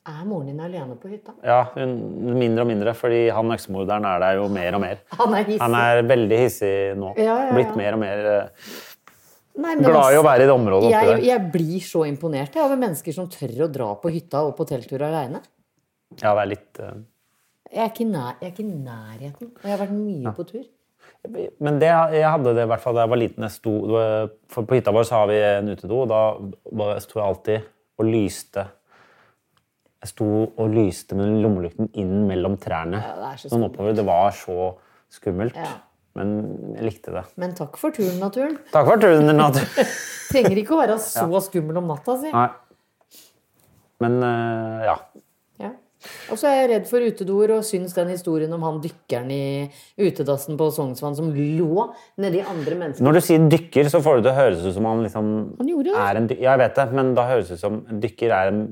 [SPEAKER 2] er moren din alene på hytta?
[SPEAKER 1] Ja, hun, mindre og mindre, fordi han øksemorderen er der jo mer og mer.
[SPEAKER 2] Han er hissig.
[SPEAKER 1] Han er veldig hissig nå.
[SPEAKER 2] Ja, ja, ja.
[SPEAKER 1] Blitt mer og mer eh,
[SPEAKER 2] Nei, men
[SPEAKER 1] glad i å
[SPEAKER 2] altså,
[SPEAKER 1] være i det området oppi
[SPEAKER 2] jeg,
[SPEAKER 1] der.
[SPEAKER 2] jeg blir så imponert jeg, over mennesker som tør å dra på hytta og på telttur aleine.
[SPEAKER 1] Ja, det er litt... eh,
[SPEAKER 2] Jeg er ikke, nær, jeg er ikke i nærheten. Og jeg har vært mye på tur.
[SPEAKER 1] Men det, jeg hadde det i hvert fall da jeg var liten. Jeg sto, for på hytta vår så har vi en utedo, og da var- sto jeg alltid og lyste. Jeg sto og lyste med lommelykten inn mellom trærne.
[SPEAKER 2] det er så
[SPEAKER 1] sånn oppover. Det var så skummelt.
[SPEAKER 2] Ja.
[SPEAKER 1] Men jeg likte det.
[SPEAKER 2] Men takk for turen, naturen.
[SPEAKER 1] Takk for turen, Natur.
[SPEAKER 2] Trenger ikke å være så skummel om natta, si.
[SPEAKER 1] Nei. Men eh, ja.
[SPEAKER 2] Ja. Og så er jeg redd for utedoer og syns den historien om han dykkeren i utedassen på Sognsvann som lå nedi andre mennesker
[SPEAKER 1] Når du sier dykker, så får det til å høres ut som han liksom
[SPEAKER 2] Han gjorde det.
[SPEAKER 1] er en dykker. Ja, jeg vet det, men da høres det ut som en dykker er en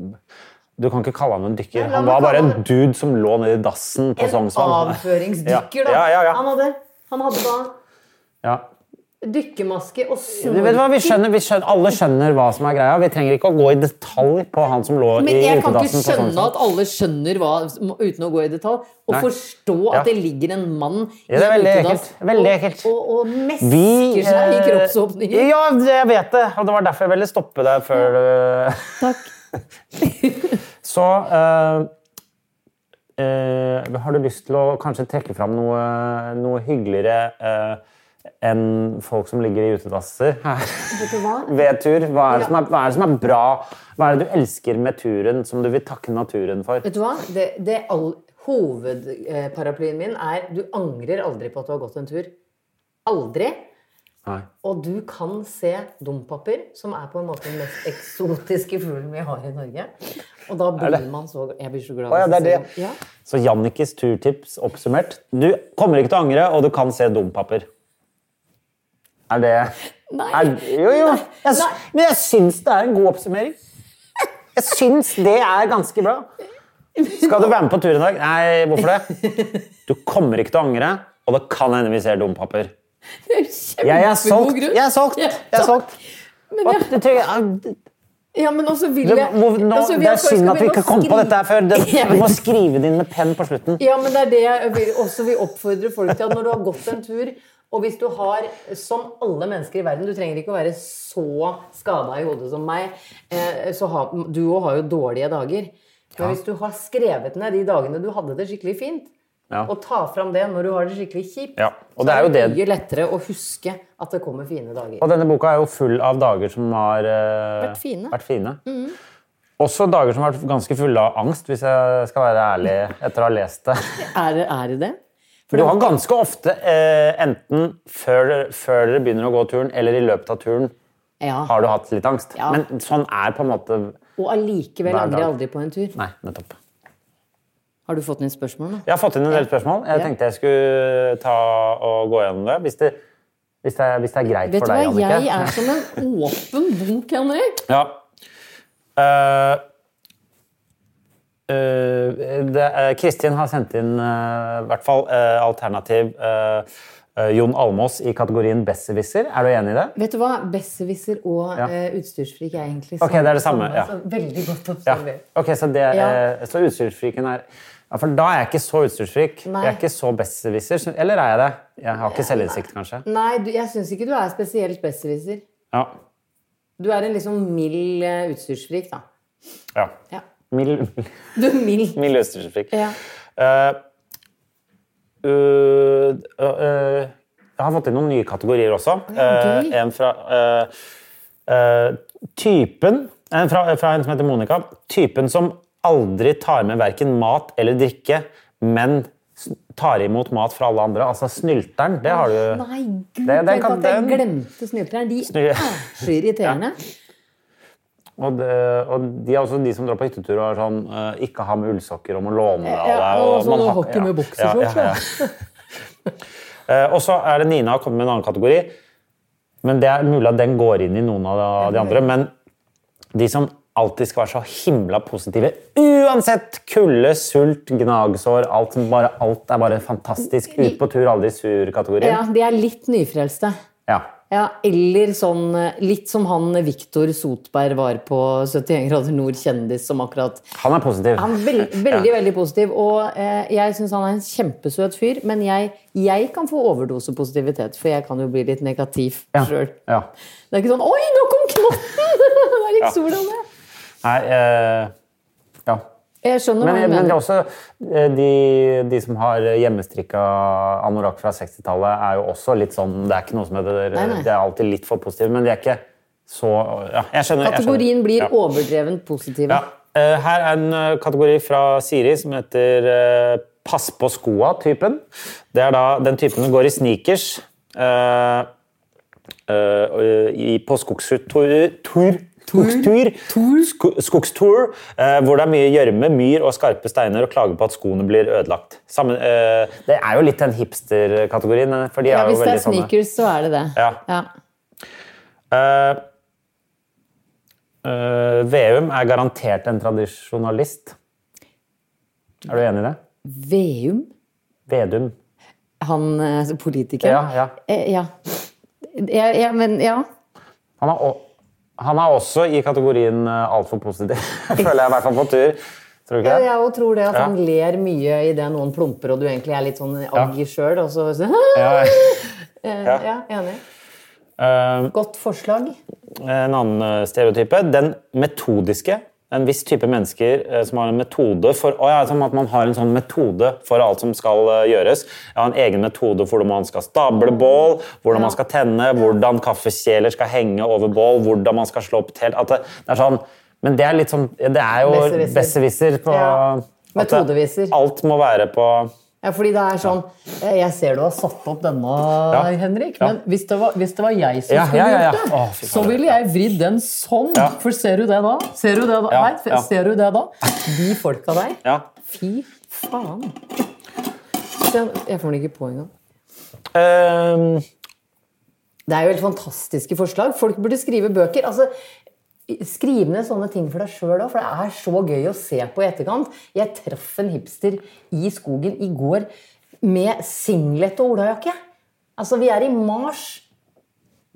[SPEAKER 1] Du kan ikke kalle han en dykker.
[SPEAKER 2] Nei, la
[SPEAKER 1] han
[SPEAKER 2] meg
[SPEAKER 1] var bare
[SPEAKER 2] kalle
[SPEAKER 1] en dude som lå nedi dassen på
[SPEAKER 2] En
[SPEAKER 1] Sognsvann.
[SPEAKER 2] avføringsdykker, da.
[SPEAKER 1] Ja, ja, ja.
[SPEAKER 2] Han, hadde, han hadde da
[SPEAKER 1] Ja.
[SPEAKER 2] dykkermaske og
[SPEAKER 1] Du vet hva,
[SPEAKER 2] snork.
[SPEAKER 1] vi skjønner, vi skjønner, Alle skjønner hva som er greia. Vi trenger ikke å gå i detalj på han som lå
[SPEAKER 2] Men
[SPEAKER 1] i
[SPEAKER 2] jeg kan ikke
[SPEAKER 1] utedassen. på
[SPEAKER 2] skjønne
[SPEAKER 1] Sognsvann.
[SPEAKER 2] at alle skjønner hva uten å gå i detalj, og
[SPEAKER 1] Nei.
[SPEAKER 2] forstå at
[SPEAKER 1] Ja.
[SPEAKER 2] det ligger en mann
[SPEAKER 1] Ja, det er veldig
[SPEAKER 2] utedass
[SPEAKER 1] ekkelt. Veldig ekkelt.
[SPEAKER 2] Og, og, og mesker
[SPEAKER 1] Vi,
[SPEAKER 2] seg i
[SPEAKER 1] eh,
[SPEAKER 2] kroppsåpninger.
[SPEAKER 1] Ja, jeg vet det. Og det var derfor jeg ville stoppe deg før du
[SPEAKER 2] Takk.
[SPEAKER 1] Så eh, eh, har du lyst til å kanskje trekke fram noe, noe hyggeligere eh, enn folk som ligger i utedasser her
[SPEAKER 2] Vet du hva?
[SPEAKER 1] ved tur. Hva er, det
[SPEAKER 2] Ja.
[SPEAKER 1] som er, hva er det som er bra? Hva er det du elsker med turen, som du vil takke naturen for?
[SPEAKER 2] Vet du hva? Det, det all, hovedparaplyen min er du angrer aldri på at du har gått en tur. Aldri.
[SPEAKER 1] Nei.
[SPEAKER 2] Og du kan se dompaper, som er på en måte den mest eksotiske fuglen vi har i Norge. Og da blir man så Jeg blir så glad.
[SPEAKER 1] Å ja,
[SPEAKER 2] hvis
[SPEAKER 1] det
[SPEAKER 2] jeg
[SPEAKER 1] er
[SPEAKER 2] ser
[SPEAKER 1] det.
[SPEAKER 2] dem. Ja.
[SPEAKER 1] Så Jannikes turtips oppsummert. Du kommer ikke til å angre, og du kan se dompaper. Er det
[SPEAKER 2] Nei.
[SPEAKER 1] Er, jo, jo. Jeg,
[SPEAKER 2] Nei.
[SPEAKER 1] s- men jeg syns det er en god oppsummering. Jeg syns det er ganske bra. Skal du være med på tur i dag? Nei, hvorfor det? Du kommer ikke til å angre, og det kan hende vi ser dompaper.
[SPEAKER 2] Det er kjempegod
[SPEAKER 1] Jeg er solgt!
[SPEAKER 2] grunn.
[SPEAKER 1] Jeg er solgt!
[SPEAKER 2] Ja,
[SPEAKER 1] Jeg er solgt.
[SPEAKER 2] Men
[SPEAKER 1] Og
[SPEAKER 2] jeg,
[SPEAKER 1] det trenger- ja,
[SPEAKER 2] ja, men også vil
[SPEAKER 1] Du,
[SPEAKER 2] jeg
[SPEAKER 1] må, nå,
[SPEAKER 2] altså, vil
[SPEAKER 1] det
[SPEAKER 2] jeg
[SPEAKER 1] er
[SPEAKER 2] at folk
[SPEAKER 1] synd
[SPEAKER 2] skal
[SPEAKER 1] at vi
[SPEAKER 2] begynne
[SPEAKER 1] ikke
[SPEAKER 2] å
[SPEAKER 1] kom på
[SPEAKER 2] skrive-
[SPEAKER 1] dette her før. Det,
[SPEAKER 2] Jeg
[SPEAKER 1] du
[SPEAKER 2] vet
[SPEAKER 1] må skrive det inn med penn på slutten.
[SPEAKER 2] Ja, men det er det jeg vil, også vil oppfordre folk til. At når du har gått en tur, og hvis du har, som alle mennesker i verden Du trenger ikke å være så skada i hodet som meg. eh, Så har, du òg har jo dårlige dager. Men hvis du har skrevet ned de dagene du hadde det skikkelig fint,
[SPEAKER 1] Ja.
[SPEAKER 2] og ta fram det når du har det skikkelig kjipt,
[SPEAKER 1] Ja, og
[SPEAKER 2] så
[SPEAKER 1] det er jo det-
[SPEAKER 2] mye lettere å huske at det kommer fine dager.
[SPEAKER 1] Og denne boka er jo full av dager som har eh,
[SPEAKER 2] Vært fine. Mm.
[SPEAKER 1] vært fine. Også dager som har vært ganske fulle av angst, hvis jeg skal være ærlig etter å ha lest det.
[SPEAKER 2] Er, det- er det det?
[SPEAKER 1] For du har ganske ofte, eh, enten før, før dere begynner å gå turen, eller i løpet av turen,
[SPEAKER 2] Ja.
[SPEAKER 1] har du hatt litt angst.
[SPEAKER 2] Ja.
[SPEAKER 1] Men sånn er på en måte
[SPEAKER 2] Og allikevel
[SPEAKER 1] Hver
[SPEAKER 2] angrer jeg
[SPEAKER 1] dag.
[SPEAKER 2] aldri på en tur.
[SPEAKER 1] Nei, nettopp.
[SPEAKER 2] Har du fått noen spørsmål nå?
[SPEAKER 1] Jeg har fått inn en del spørsmål. Jeg
[SPEAKER 2] Ja.
[SPEAKER 1] tenkte jeg skulle ta og gå gjennom det. Hvis det, hvis det, er- hvis det er greit
[SPEAKER 2] Vet du
[SPEAKER 1] for deg,
[SPEAKER 2] hva,
[SPEAKER 1] Jannicke.
[SPEAKER 2] jeg er som en åpen bok, Henrik.
[SPEAKER 1] Ja. Eh, eh, det, eh, Kristin har sendt inn eh, i hvert fall eh, alternativ eh, eh, Jon Almås i kategorien besserwisser. Er du enig i det?
[SPEAKER 2] Vet du hva? Besserwisser og
[SPEAKER 1] Ja.
[SPEAKER 2] eh, utstyrsfrik er egentlig
[SPEAKER 1] Ok, det er det samme, ja.
[SPEAKER 2] så Veldig godt
[SPEAKER 1] Ja.
[SPEAKER 2] observert.
[SPEAKER 1] Ok, Så, det,
[SPEAKER 2] Ja.
[SPEAKER 1] eh, så utstyrsfriken er ja, For da er jeg ikke så utstyrsfrik.
[SPEAKER 2] Nei.
[SPEAKER 1] Jeg er ikke så besserwisser. så- Eller er jeg det? Jeg har ikke selvinnsikt, kanskje.
[SPEAKER 2] Nei, du, jeg syns ikke du er spesielt besserwisser.
[SPEAKER 1] Ja.
[SPEAKER 2] Du er en liksom mild eh, utstyrsfrik, da.
[SPEAKER 1] ja.
[SPEAKER 2] Ja.
[SPEAKER 1] Mild,
[SPEAKER 2] Du er mild.
[SPEAKER 1] mild utstyrsfrik.
[SPEAKER 2] Ja.
[SPEAKER 1] Eh, øh, øh, jeg har fått inn noen nye kategorier også.
[SPEAKER 2] ja,
[SPEAKER 1] Eh,
[SPEAKER 2] gøy.
[SPEAKER 1] en fra eh, eh, typen En fra, fra en som heter Monica. Typen som aldri tar med verken mat eller drikke, men s- tar imot mat fra alle andre. Altså snylteren. Det har du.
[SPEAKER 2] Nei, gud,
[SPEAKER 1] Det- den
[SPEAKER 2] tenk
[SPEAKER 1] kan-
[SPEAKER 2] at jeg
[SPEAKER 1] den-
[SPEAKER 2] glemte snylteren. De
[SPEAKER 1] Sny-
[SPEAKER 2] er så irriterende.
[SPEAKER 1] Og, det, og de er også de som drar på hyttetur og er sånn eh, Ikke ha med ullsokker og må låne det av deg.
[SPEAKER 2] Ja, og sånn
[SPEAKER 1] man har-
[SPEAKER 2] hockey med
[SPEAKER 1] ja,
[SPEAKER 2] boksershorts,
[SPEAKER 1] ja, ja, ja. Eh, og så er det Nina har kommet med en annen kategori. Men det er mulig at den går inn i noen av de andre. Men de som alltid skal være så himla positive uansett kulde, sult, gnagsår alt, som bare, alt er bare fantastisk. Ut på tur, aldri
[SPEAKER 2] Ja,
[SPEAKER 1] sur-kategorien.
[SPEAKER 2] de er litt nyfrelste.
[SPEAKER 1] Ja.
[SPEAKER 2] Ja, eller sånn eh, litt som han Viktor Sotberg var på 71 grader nord, kjendis som akkurat
[SPEAKER 1] Han er positiv.
[SPEAKER 2] Han er vel- veldig, veldig positiv. Og eh, jeg syns han er en kjempesøt fyr, men jeg, jeg kan få overdose positivitet, for jeg kan jo bli litt negativ
[SPEAKER 1] Ja,
[SPEAKER 2] selv. sjøl.
[SPEAKER 1] ja.
[SPEAKER 2] Det er ikke sånn 'oi, nå kom knotten!' det er
[SPEAKER 1] Ja.
[SPEAKER 2] ikke sola nå.
[SPEAKER 1] Nei, eh, ja.
[SPEAKER 2] Jeg skjønner
[SPEAKER 1] Men,
[SPEAKER 2] hva du
[SPEAKER 1] men det er
[SPEAKER 2] mener.
[SPEAKER 1] også eh, de, de som har hjemmestrikka anorakk fra 60-tallet, er jo også litt sånn Det er ikke noe som heter
[SPEAKER 2] Nei, nei.
[SPEAKER 1] De er alltid litt for positive, men de er ikke så ja, jeg skjønner, jeg skjønner.
[SPEAKER 2] Kategorien blir
[SPEAKER 1] Ja.
[SPEAKER 2] overdrevent positiv.
[SPEAKER 1] Ja. Eh, Her er en eh, kategori fra Siri som heter eh, Pass på skoa-typen. Det er da den typen som går i sneakers eh, eh, i, på skogstur tur, skogstur, sko, skogstur eh, hvor det er mye gjørme, myr og skarpe steiner, og klager på at skoene blir ødelagt. Samme, eh, det er jo litt den hipster-kategorien. eh, for de
[SPEAKER 2] Ja,
[SPEAKER 1] er jo
[SPEAKER 2] hvis det er
[SPEAKER 1] veldig sånne.
[SPEAKER 2] sneakers, så er det det.
[SPEAKER 1] Ja. Eh, eh, Veum er garantert en tradisjonalist. Er du enig i det?
[SPEAKER 2] Veum,
[SPEAKER 1] Vedum.
[SPEAKER 2] han eh,
[SPEAKER 1] Ja,
[SPEAKER 2] politikeren.
[SPEAKER 1] ja.
[SPEAKER 2] Eh, ja. Ja, ja, men ja.
[SPEAKER 1] Han, er, o- han er også i kategorien eh, altfor positiv, føler jeg, i hvert fall på tur. Tror du ikke
[SPEAKER 2] Ja,
[SPEAKER 1] det?
[SPEAKER 2] jeg også tror det at
[SPEAKER 1] Ja.
[SPEAKER 2] han ler mye idet noen plumper, og du egentlig er litt sånn agg sjøl, og så, så
[SPEAKER 1] Ja.
[SPEAKER 2] Eh,
[SPEAKER 1] Ja.
[SPEAKER 2] ja, enig.
[SPEAKER 1] Eh,
[SPEAKER 2] Godt forslag.
[SPEAKER 1] en annen stereotype, den eh, metodiske, en viss type mennesker eh, som har en metode for å, ja, som at man har en sånn metode for alt som skal eh, gjøres. Jeg har en egen metode for hvordan man skal stable bål, hvordan man skal tenne, hvordan kaffekjeler skal henge over bål, hvordan man skal slå opp telt. At det, det er sånn, men det er litt sånn Det er jo
[SPEAKER 2] Besserwisser.
[SPEAKER 1] besserwisser på
[SPEAKER 2] Ja.
[SPEAKER 1] at det-
[SPEAKER 2] Metodeviser.
[SPEAKER 1] Alt må være på
[SPEAKER 2] Ja, fordi det er sånn eh, Jeg ser du har satt opp denne,
[SPEAKER 1] Ja.
[SPEAKER 2] Henrik,
[SPEAKER 1] Ja.
[SPEAKER 2] men hvis det, var, hvis det var jeg som
[SPEAKER 1] Ja,
[SPEAKER 2] skulle
[SPEAKER 1] ja, ja, ja.
[SPEAKER 2] gjort det,
[SPEAKER 1] Å, fy
[SPEAKER 2] så
[SPEAKER 1] faen.
[SPEAKER 2] ville jeg vridd den sånn.
[SPEAKER 1] Ja.
[SPEAKER 2] For ser du det da? Ser du det da?
[SPEAKER 1] Ja,
[SPEAKER 2] Nei, f-
[SPEAKER 1] ja.
[SPEAKER 2] ser du det da? De folka der.
[SPEAKER 1] Ja.
[SPEAKER 2] Fy faen. Den, jeg får den ikke på engang.
[SPEAKER 1] Ehm,
[SPEAKER 2] Det er jo helt fantastiske forslag. Folk burde skrive bøker. altså Skriv ned sånne ting for deg sjøl òg, for det er så gøy å se på i etterkant. Jeg traff en hipster i skogen i går med singlet og olajakke. Altså, vi er i Mars.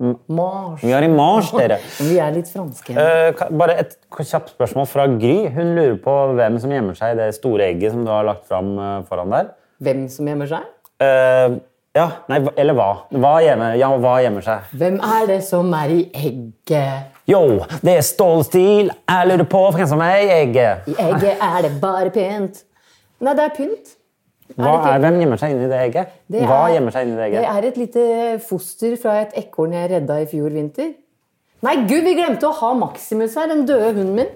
[SPEAKER 2] Mars.
[SPEAKER 1] Mm. vi er i Mars, dere.
[SPEAKER 2] Vi er litt franske.
[SPEAKER 1] Eh, ka- Bare et k- kjapt spørsmål fra Gry. Hun lurer på hvem som gjemmer seg i det store egget som du har lagt fram eh, foran der.
[SPEAKER 2] Hvem som gjemmer seg?
[SPEAKER 1] Eh, ja, nei, hva- eller hva? Hva gjemmer, ja, hva gjemmer seg?
[SPEAKER 2] Hvem er det som er i egget?
[SPEAKER 1] Yo, det er stålstil. Jeg lurer på hvem som er i egget.
[SPEAKER 2] I egget er det bare pent. Nei, det er pynt.
[SPEAKER 1] Hva
[SPEAKER 2] ikke-
[SPEAKER 1] er, hvem gjemmer seg inni det egget?
[SPEAKER 2] Det
[SPEAKER 1] hva
[SPEAKER 2] er-
[SPEAKER 1] gjemmer seg inni det egget?
[SPEAKER 2] Det er et lite foster fra et ekorn jeg redda i fjor vinter. Nei, gud, vi glemte å ha Maximus her, den døde hunden min.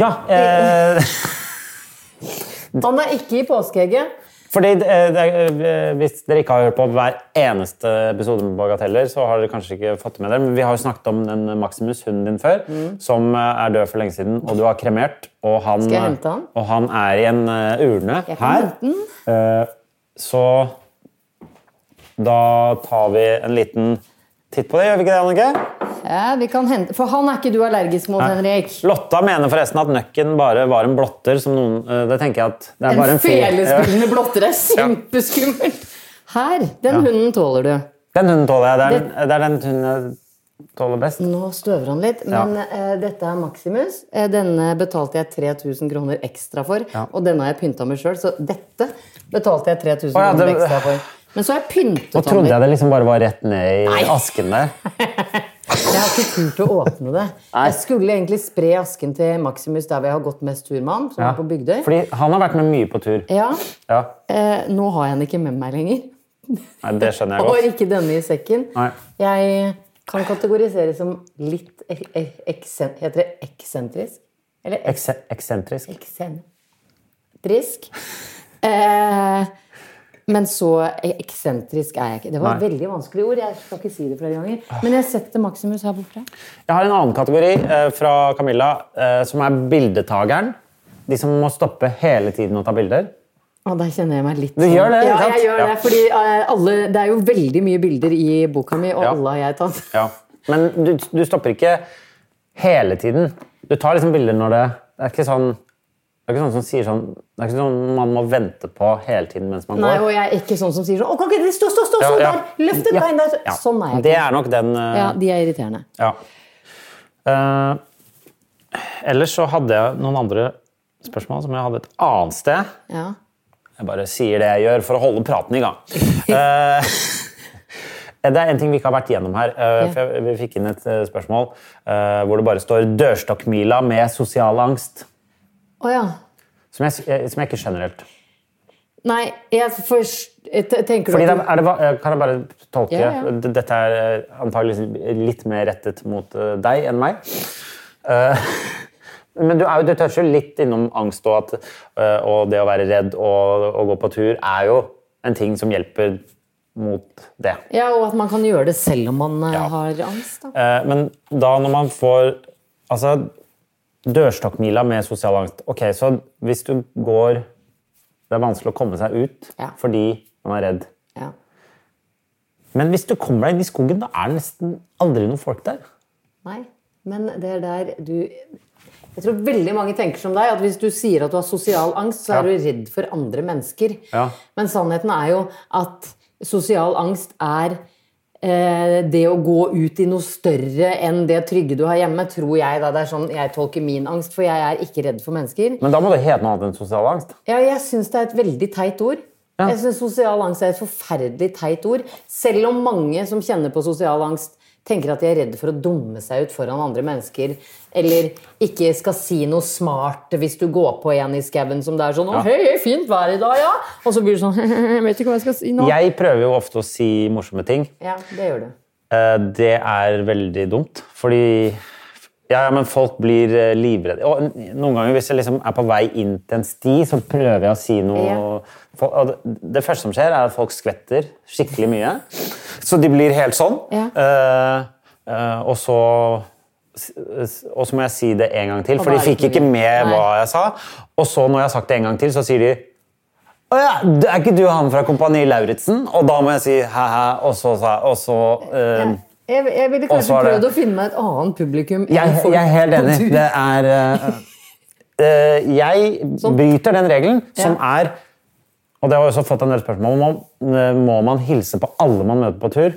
[SPEAKER 1] Ja, eh,
[SPEAKER 2] Han er ikke i påskeegget.
[SPEAKER 1] fordi eh, det, er- eh, Hvis dere ikke har hørt på hver eneste episode med Bagateller, så har dere kanskje ikke fått det med dere, men vi har jo snakket om den Maximus, hunden din, før, som eh, er død for lenge siden, og du har kremert, og han,
[SPEAKER 2] Mm. Skal jeg hente han?
[SPEAKER 1] Og han er i en eh, urne
[SPEAKER 2] Jeg kan
[SPEAKER 1] her.
[SPEAKER 2] hente den.
[SPEAKER 1] Eh, så da tar vi en liten titt på det, gjør vi ikke det, Annike?
[SPEAKER 2] Ja, vi kan hente. For han er ikke du allergisk mot, Henrik.
[SPEAKER 1] Lotta mener forresten at nøkken bare var en blotter, som noen eh, Det tenker jeg at det er bare
[SPEAKER 2] En
[SPEAKER 1] en fe-
[SPEAKER 2] felespillende blotter er
[SPEAKER 1] Ja.
[SPEAKER 2] kjempeskummelt. Her. Den hunden tåler du.
[SPEAKER 1] Den hunden tåler jeg. Det er, den- det er den hunden jeg tåler best.
[SPEAKER 2] Nå støver han litt, men eh, dette er Maximus. Eh, denne betalte jeg 3000 kroner ekstra for, og denne har jeg pynta med sjøl, så dette betalte jeg 3000
[SPEAKER 1] Å, ja,
[SPEAKER 2] kroner
[SPEAKER 1] det-
[SPEAKER 2] ekstra for. Men så har jeg
[SPEAKER 1] Nå
[SPEAKER 2] pyntet han
[SPEAKER 1] trodde
[SPEAKER 2] litt.
[SPEAKER 1] jeg det liksom bare var rett ned i asken der.
[SPEAKER 2] Jeg har ikke turt å åpne det. Jeg skulle egentlig spre asken til Maximus der vi har gått mest tur med han, som
[SPEAKER 1] Ja.
[SPEAKER 2] er på Bygdøy.
[SPEAKER 1] Fordi han har vært med mye på tur.
[SPEAKER 2] Ja,
[SPEAKER 1] Ja,
[SPEAKER 2] eh, Nå har jeg den ikke med meg lenger.
[SPEAKER 1] Nei, Det skjønner jeg
[SPEAKER 2] Og
[SPEAKER 1] godt.
[SPEAKER 2] ikke denne i sekken.
[SPEAKER 1] Nei.
[SPEAKER 2] Jeg kan kategoriseres som litt e e eksen Heter det eksentrisk? Eller ek
[SPEAKER 1] Ekse eksentrisk.
[SPEAKER 2] eksentrisk? Eh, men så e- eksentrisk er jeg ikke. Det var et
[SPEAKER 1] Nei.
[SPEAKER 2] veldig vanskelig ord. Jeg skal ikke si det flere ganger. Men jeg setter Maximus her borte.
[SPEAKER 1] Jeg har en annen kategori eh, fra Camilla, eh, som er bildetageren. De som må stoppe hele tiden og ta bilder.
[SPEAKER 2] Å, der kjenner jeg meg litt
[SPEAKER 1] Du
[SPEAKER 2] sånn.
[SPEAKER 1] gjør det,
[SPEAKER 2] Ja,
[SPEAKER 1] ikke sant?
[SPEAKER 2] jeg gjør det,
[SPEAKER 1] Ja.
[SPEAKER 2] fordi eh, alle, det er jo veldig mye bilder i boka mi, og
[SPEAKER 1] Ja.
[SPEAKER 2] alle har jeg tatt.
[SPEAKER 1] Ja. Men du, du stopper ikke hele tiden. Du tar liksom bilder når det Det er ikke sånn det er ikke sånn som sier sånn, det er ikke sånn man må vente på hele tiden mens man
[SPEAKER 2] Nei,
[SPEAKER 1] går.
[SPEAKER 2] og jeg er ikke sånn som sier sånn Å, kan ikke dere stå, stå, stå,
[SPEAKER 1] Ja,
[SPEAKER 2] sånn
[SPEAKER 1] ja.
[SPEAKER 2] der! Løft et
[SPEAKER 1] Ja,
[SPEAKER 2] bein der! så-
[SPEAKER 1] ja.
[SPEAKER 2] Sånn er jeg
[SPEAKER 1] Det
[SPEAKER 2] ikke.
[SPEAKER 1] er nok den eh,
[SPEAKER 2] Ja, de er irriterende.
[SPEAKER 1] ja. Eh, ellers så hadde jeg noen andre spørsmål som jeg hadde et annet sted.
[SPEAKER 2] Ja.
[SPEAKER 1] Jeg bare sier det jeg gjør for å holde praten i gang. Eh, det er en ting vi ikke har vært gjennom her. eh,
[SPEAKER 2] Ja.
[SPEAKER 1] for jeg- Vi fikk inn et eh, spørsmål eh, hvor det bare står 'dørstokkmila med sosial angst'.
[SPEAKER 2] Å ja.
[SPEAKER 1] Som jeg, eh, som jeg ikke skjønner helt.
[SPEAKER 2] Nei, jeg forst... jeg te- Tenker
[SPEAKER 1] Fordi
[SPEAKER 2] du
[SPEAKER 1] det
[SPEAKER 2] at du-
[SPEAKER 1] er det, va- eh, kan jeg bare tolke
[SPEAKER 2] Ja, ja.
[SPEAKER 1] D- Dette er eh, antageligvis litt mer rettet mot eh, deg enn meg. Eh, men du, er jo, du toucher jo litt innom angst og, at, eh, og det å være redd og, og gå på tur er jo en ting som hjelper mot det.
[SPEAKER 2] Ja, og at man kan gjøre det selv om man eh,
[SPEAKER 1] Ja.
[SPEAKER 2] har angst, da.
[SPEAKER 1] Eh, Men da når man får Altså, dørstokkmila med sosial angst. Ok, så hvis du går Det er vanskelig å komme seg ut
[SPEAKER 2] Ja.
[SPEAKER 1] fordi man er redd.
[SPEAKER 2] Ja.
[SPEAKER 1] Men hvis du kommer deg inn i skogen, da er det nesten aldri noen folk der.
[SPEAKER 2] Nei, men det er der du Jeg tror veldig mange tenker som deg, at hvis du sier at du har sosial angst, så
[SPEAKER 1] Ja.
[SPEAKER 2] er du redd for andre mennesker.
[SPEAKER 1] Ja.
[SPEAKER 2] Men sannheten er jo at sosial angst er eh, det å gå ut i noe større enn det trygge du har hjemme, tror jeg. da. Det er sånn jeg tolker min angst, for jeg er ikke redd for mennesker.
[SPEAKER 1] Men da må det hete noe annet enn sosial angst.
[SPEAKER 2] Ja, jeg syns det er et veldig teit ord. Jeg synes Sosial angst er et forferdelig teit ord. Selv om mange som kjenner på sosial angst, tenker at de er redd for å dumme seg ut foran andre mennesker, eller ikke skal si noe smart hvis du går på en i skauen som det er sånn 'Å, hei, hei, fint vær i dag, ja', og så blir du sånn 'Jeg vet ikke hva jeg skal si nå'.
[SPEAKER 1] Jeg prøver jo ofte å si morsomme ting.
[SPEAKER 2] Ja, det gjør du.
[SPEAKER 1] Eh, Det er veldig dumt, fordi ja, ja, men folk blir eh, livredde. Og n- noen ganger hvis jeg liksom er på vei inn til en sti, så prøver jeg å si noe.
[SPEAKER 2] Ja.
[SPEAKER 1] Fol- Og det- det første som skjer, er at folk skvetter skikkelig mye. Så de blir helt sånn.
[SPEAKER 2] Ja.
[SPEAKER 1] Eh, eh, og så s- s- og så må jeg si det en gang til, for de
[SPEAKER 2] da er det
[SPEAKER 1] fikk
[SPEAKER 2] ikke
[SPEAKER 1] ikke
[SPEAKER 2] noe-
[SPEAKER 1] med
[SPEAKER 2] Nei.
[SPEAKER 1] hva jeg sa. Og så når jeg har sagt det en gang til, så sier de å ja, du- er ikke du han fra Kompani Lauritzen? Og da må jeg si hæ-hæ, og så sa og så eh,
[SPEAKER 2] Jeg, jeg ville
[SPEAKER 1] Og så
[SPEAKER 2] kanskje
[SPEAKER 1] er det-
[SPEAKER 2] prøvd å finne meg et annet publikum. enn
[SPEAKER 1] jeg,
[SPEAKER 2] folk
[SPEAKER 1] jeg er helt
[SPEAKER 2] på
[SPEAKER 1] enig.
[SPEAKER 2] tur.
[SPEAKER 1] Det er eh, eh, Jeg bryter den regelen som er Og det har jeg også fått en del spørsmål om. om, eh, Må man hilse på alle man møter på tur?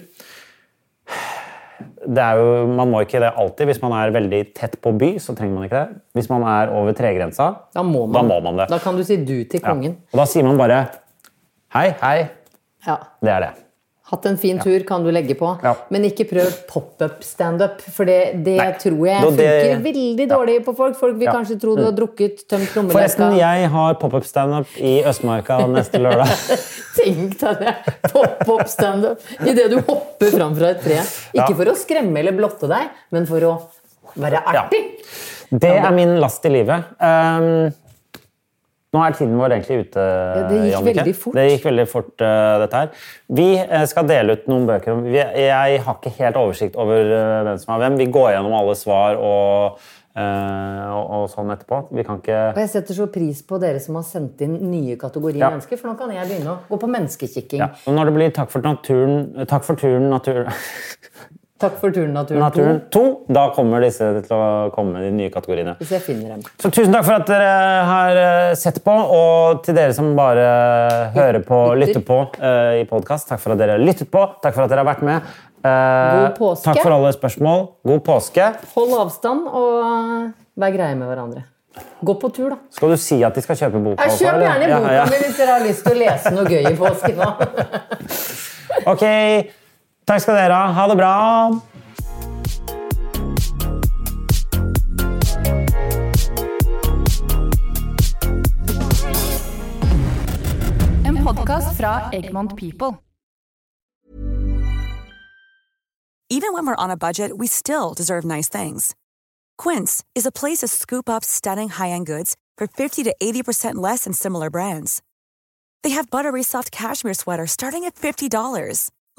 [SPEAKER 1] Det er jo, man må ikke det alltid. Hvis man er veldig tett på by, så trenger man ikke det. Hvis man er over tregrensa,
[SPEAKER 2] Da må man,
[SPEAKER 1] det.
[SPEAKER 2] Da kan du si du til
[SPEAKER 1] Ja.
[SPEAKER 2] kongen.
[SPEAKER 1] Og da sier man bare hei, hei.
[SPEAKER 2] Ja.
[SPEAKER 1] Det er det.
[SPEAKER 2] Hatt en fin tur, kan du legge på.
[SPEAKER 1] Ja.
[SPEAKER 2] Men ikke prøv pop-up standup, for det, det
[SPEAKER 1] Nei.
[SPEAKER 2] tror jeg
[SPEAKER 1] Da det-
[SPEAKER 2] funker veldig dårlig på folk. Folk vil
[SPEAKER 1] Ja. Mm.
[SPEAKER 2] kanskje tro du har drukket, tømt lommelekka.
[SPEAKER 1] Forresten, jeg har pop-up standup i Østmarka neste lørdag.
[SPEAKER 2] Tenk deg det! Pop-up standup. Idet du hopper fram fra et tre. Ikke
[SPEAKER 1] Ja.
[SPEAKER 2] for å skremme eller blotte deg, men for å være artig.
[SPEAKER 1] Det er min last i livet. Ehm, nå er tiden vår egentlig ute.
[SPEAKER 2] det gikk
[SPEAKER 1] Jannicke.
[SPEAKER 2] veldig fort.
[SPEAKER 1] Det gikk veldig fort, eh, dette her. Vi eh, skal dele ut noen bøker. om- Vi, jeg har ikke helt oversikt over eh, hvem som er hvem. Vi går gjennom alle svar og, eh, og, og sånn etterpå. Vi kan ikke
[SPEAKER 2] Og jeg setter så pris på dere som har sendt inn nye kategorier
[SPEAKER 1] Ja.
[SPEAKER 2] mennesker, for nå kan jeg begynne å gå på menneskekikking.
[SPEAKER 1] ja. Og når det blir Takk for naturen, takk for turen, natur,
[SPEAKER 2] Takk for turen, naturen.
[SPEAKER 1] naturen 2, da kommer disse til å komme, de nye kategoriene.
[SPEAKER 2] Hvis jeg finner dem.
[SPEAKER 1] Så tusen takk for at dere har eh, sett på, og til dere som bare eh, hører på, lytter
[SPEAKER 2] Lytter.
[SPEAKER 1] på eh, i podkast, takk for at dere har lyttet på, takk for at dere har vært med. Eh,
[SPEAKER 2] God påske.
[SPEAKER 1] Takk for alle spørsmål. God påske.
[SPEAKER 2] Hold avstand og vær greie med hverandre. Gå på tur, da.
[SPEAKER 1] Skal du si at de skal kjøpe boka?
[SPEAKER 2] Jeg
[SPEAKER 1] også,
[SPEAKER 2] kjøper
[SPEAKER 1] eller?
[SPEAKER 2] gjerne
[SPEAKER 1] Ja,
[SPEAKER 2] boka
[SPEAKER 1] ja.
[SPEAKER 2] mi hvis dere har lyst til å lese noe gøy i påsken. da.
[SPEAKER 1] Ok, takk skal dere ha. Ha det bra.
[SPEAKER 3] En podkast fra Egmont People.
[SPEAKER 4] Even when we're on a budget, we still deserve nice things. Quince is a place to scoop up stunning high-end goods for 50 to 80% less than similar brands. They have buttery soft cashmere sweaters starting at $50,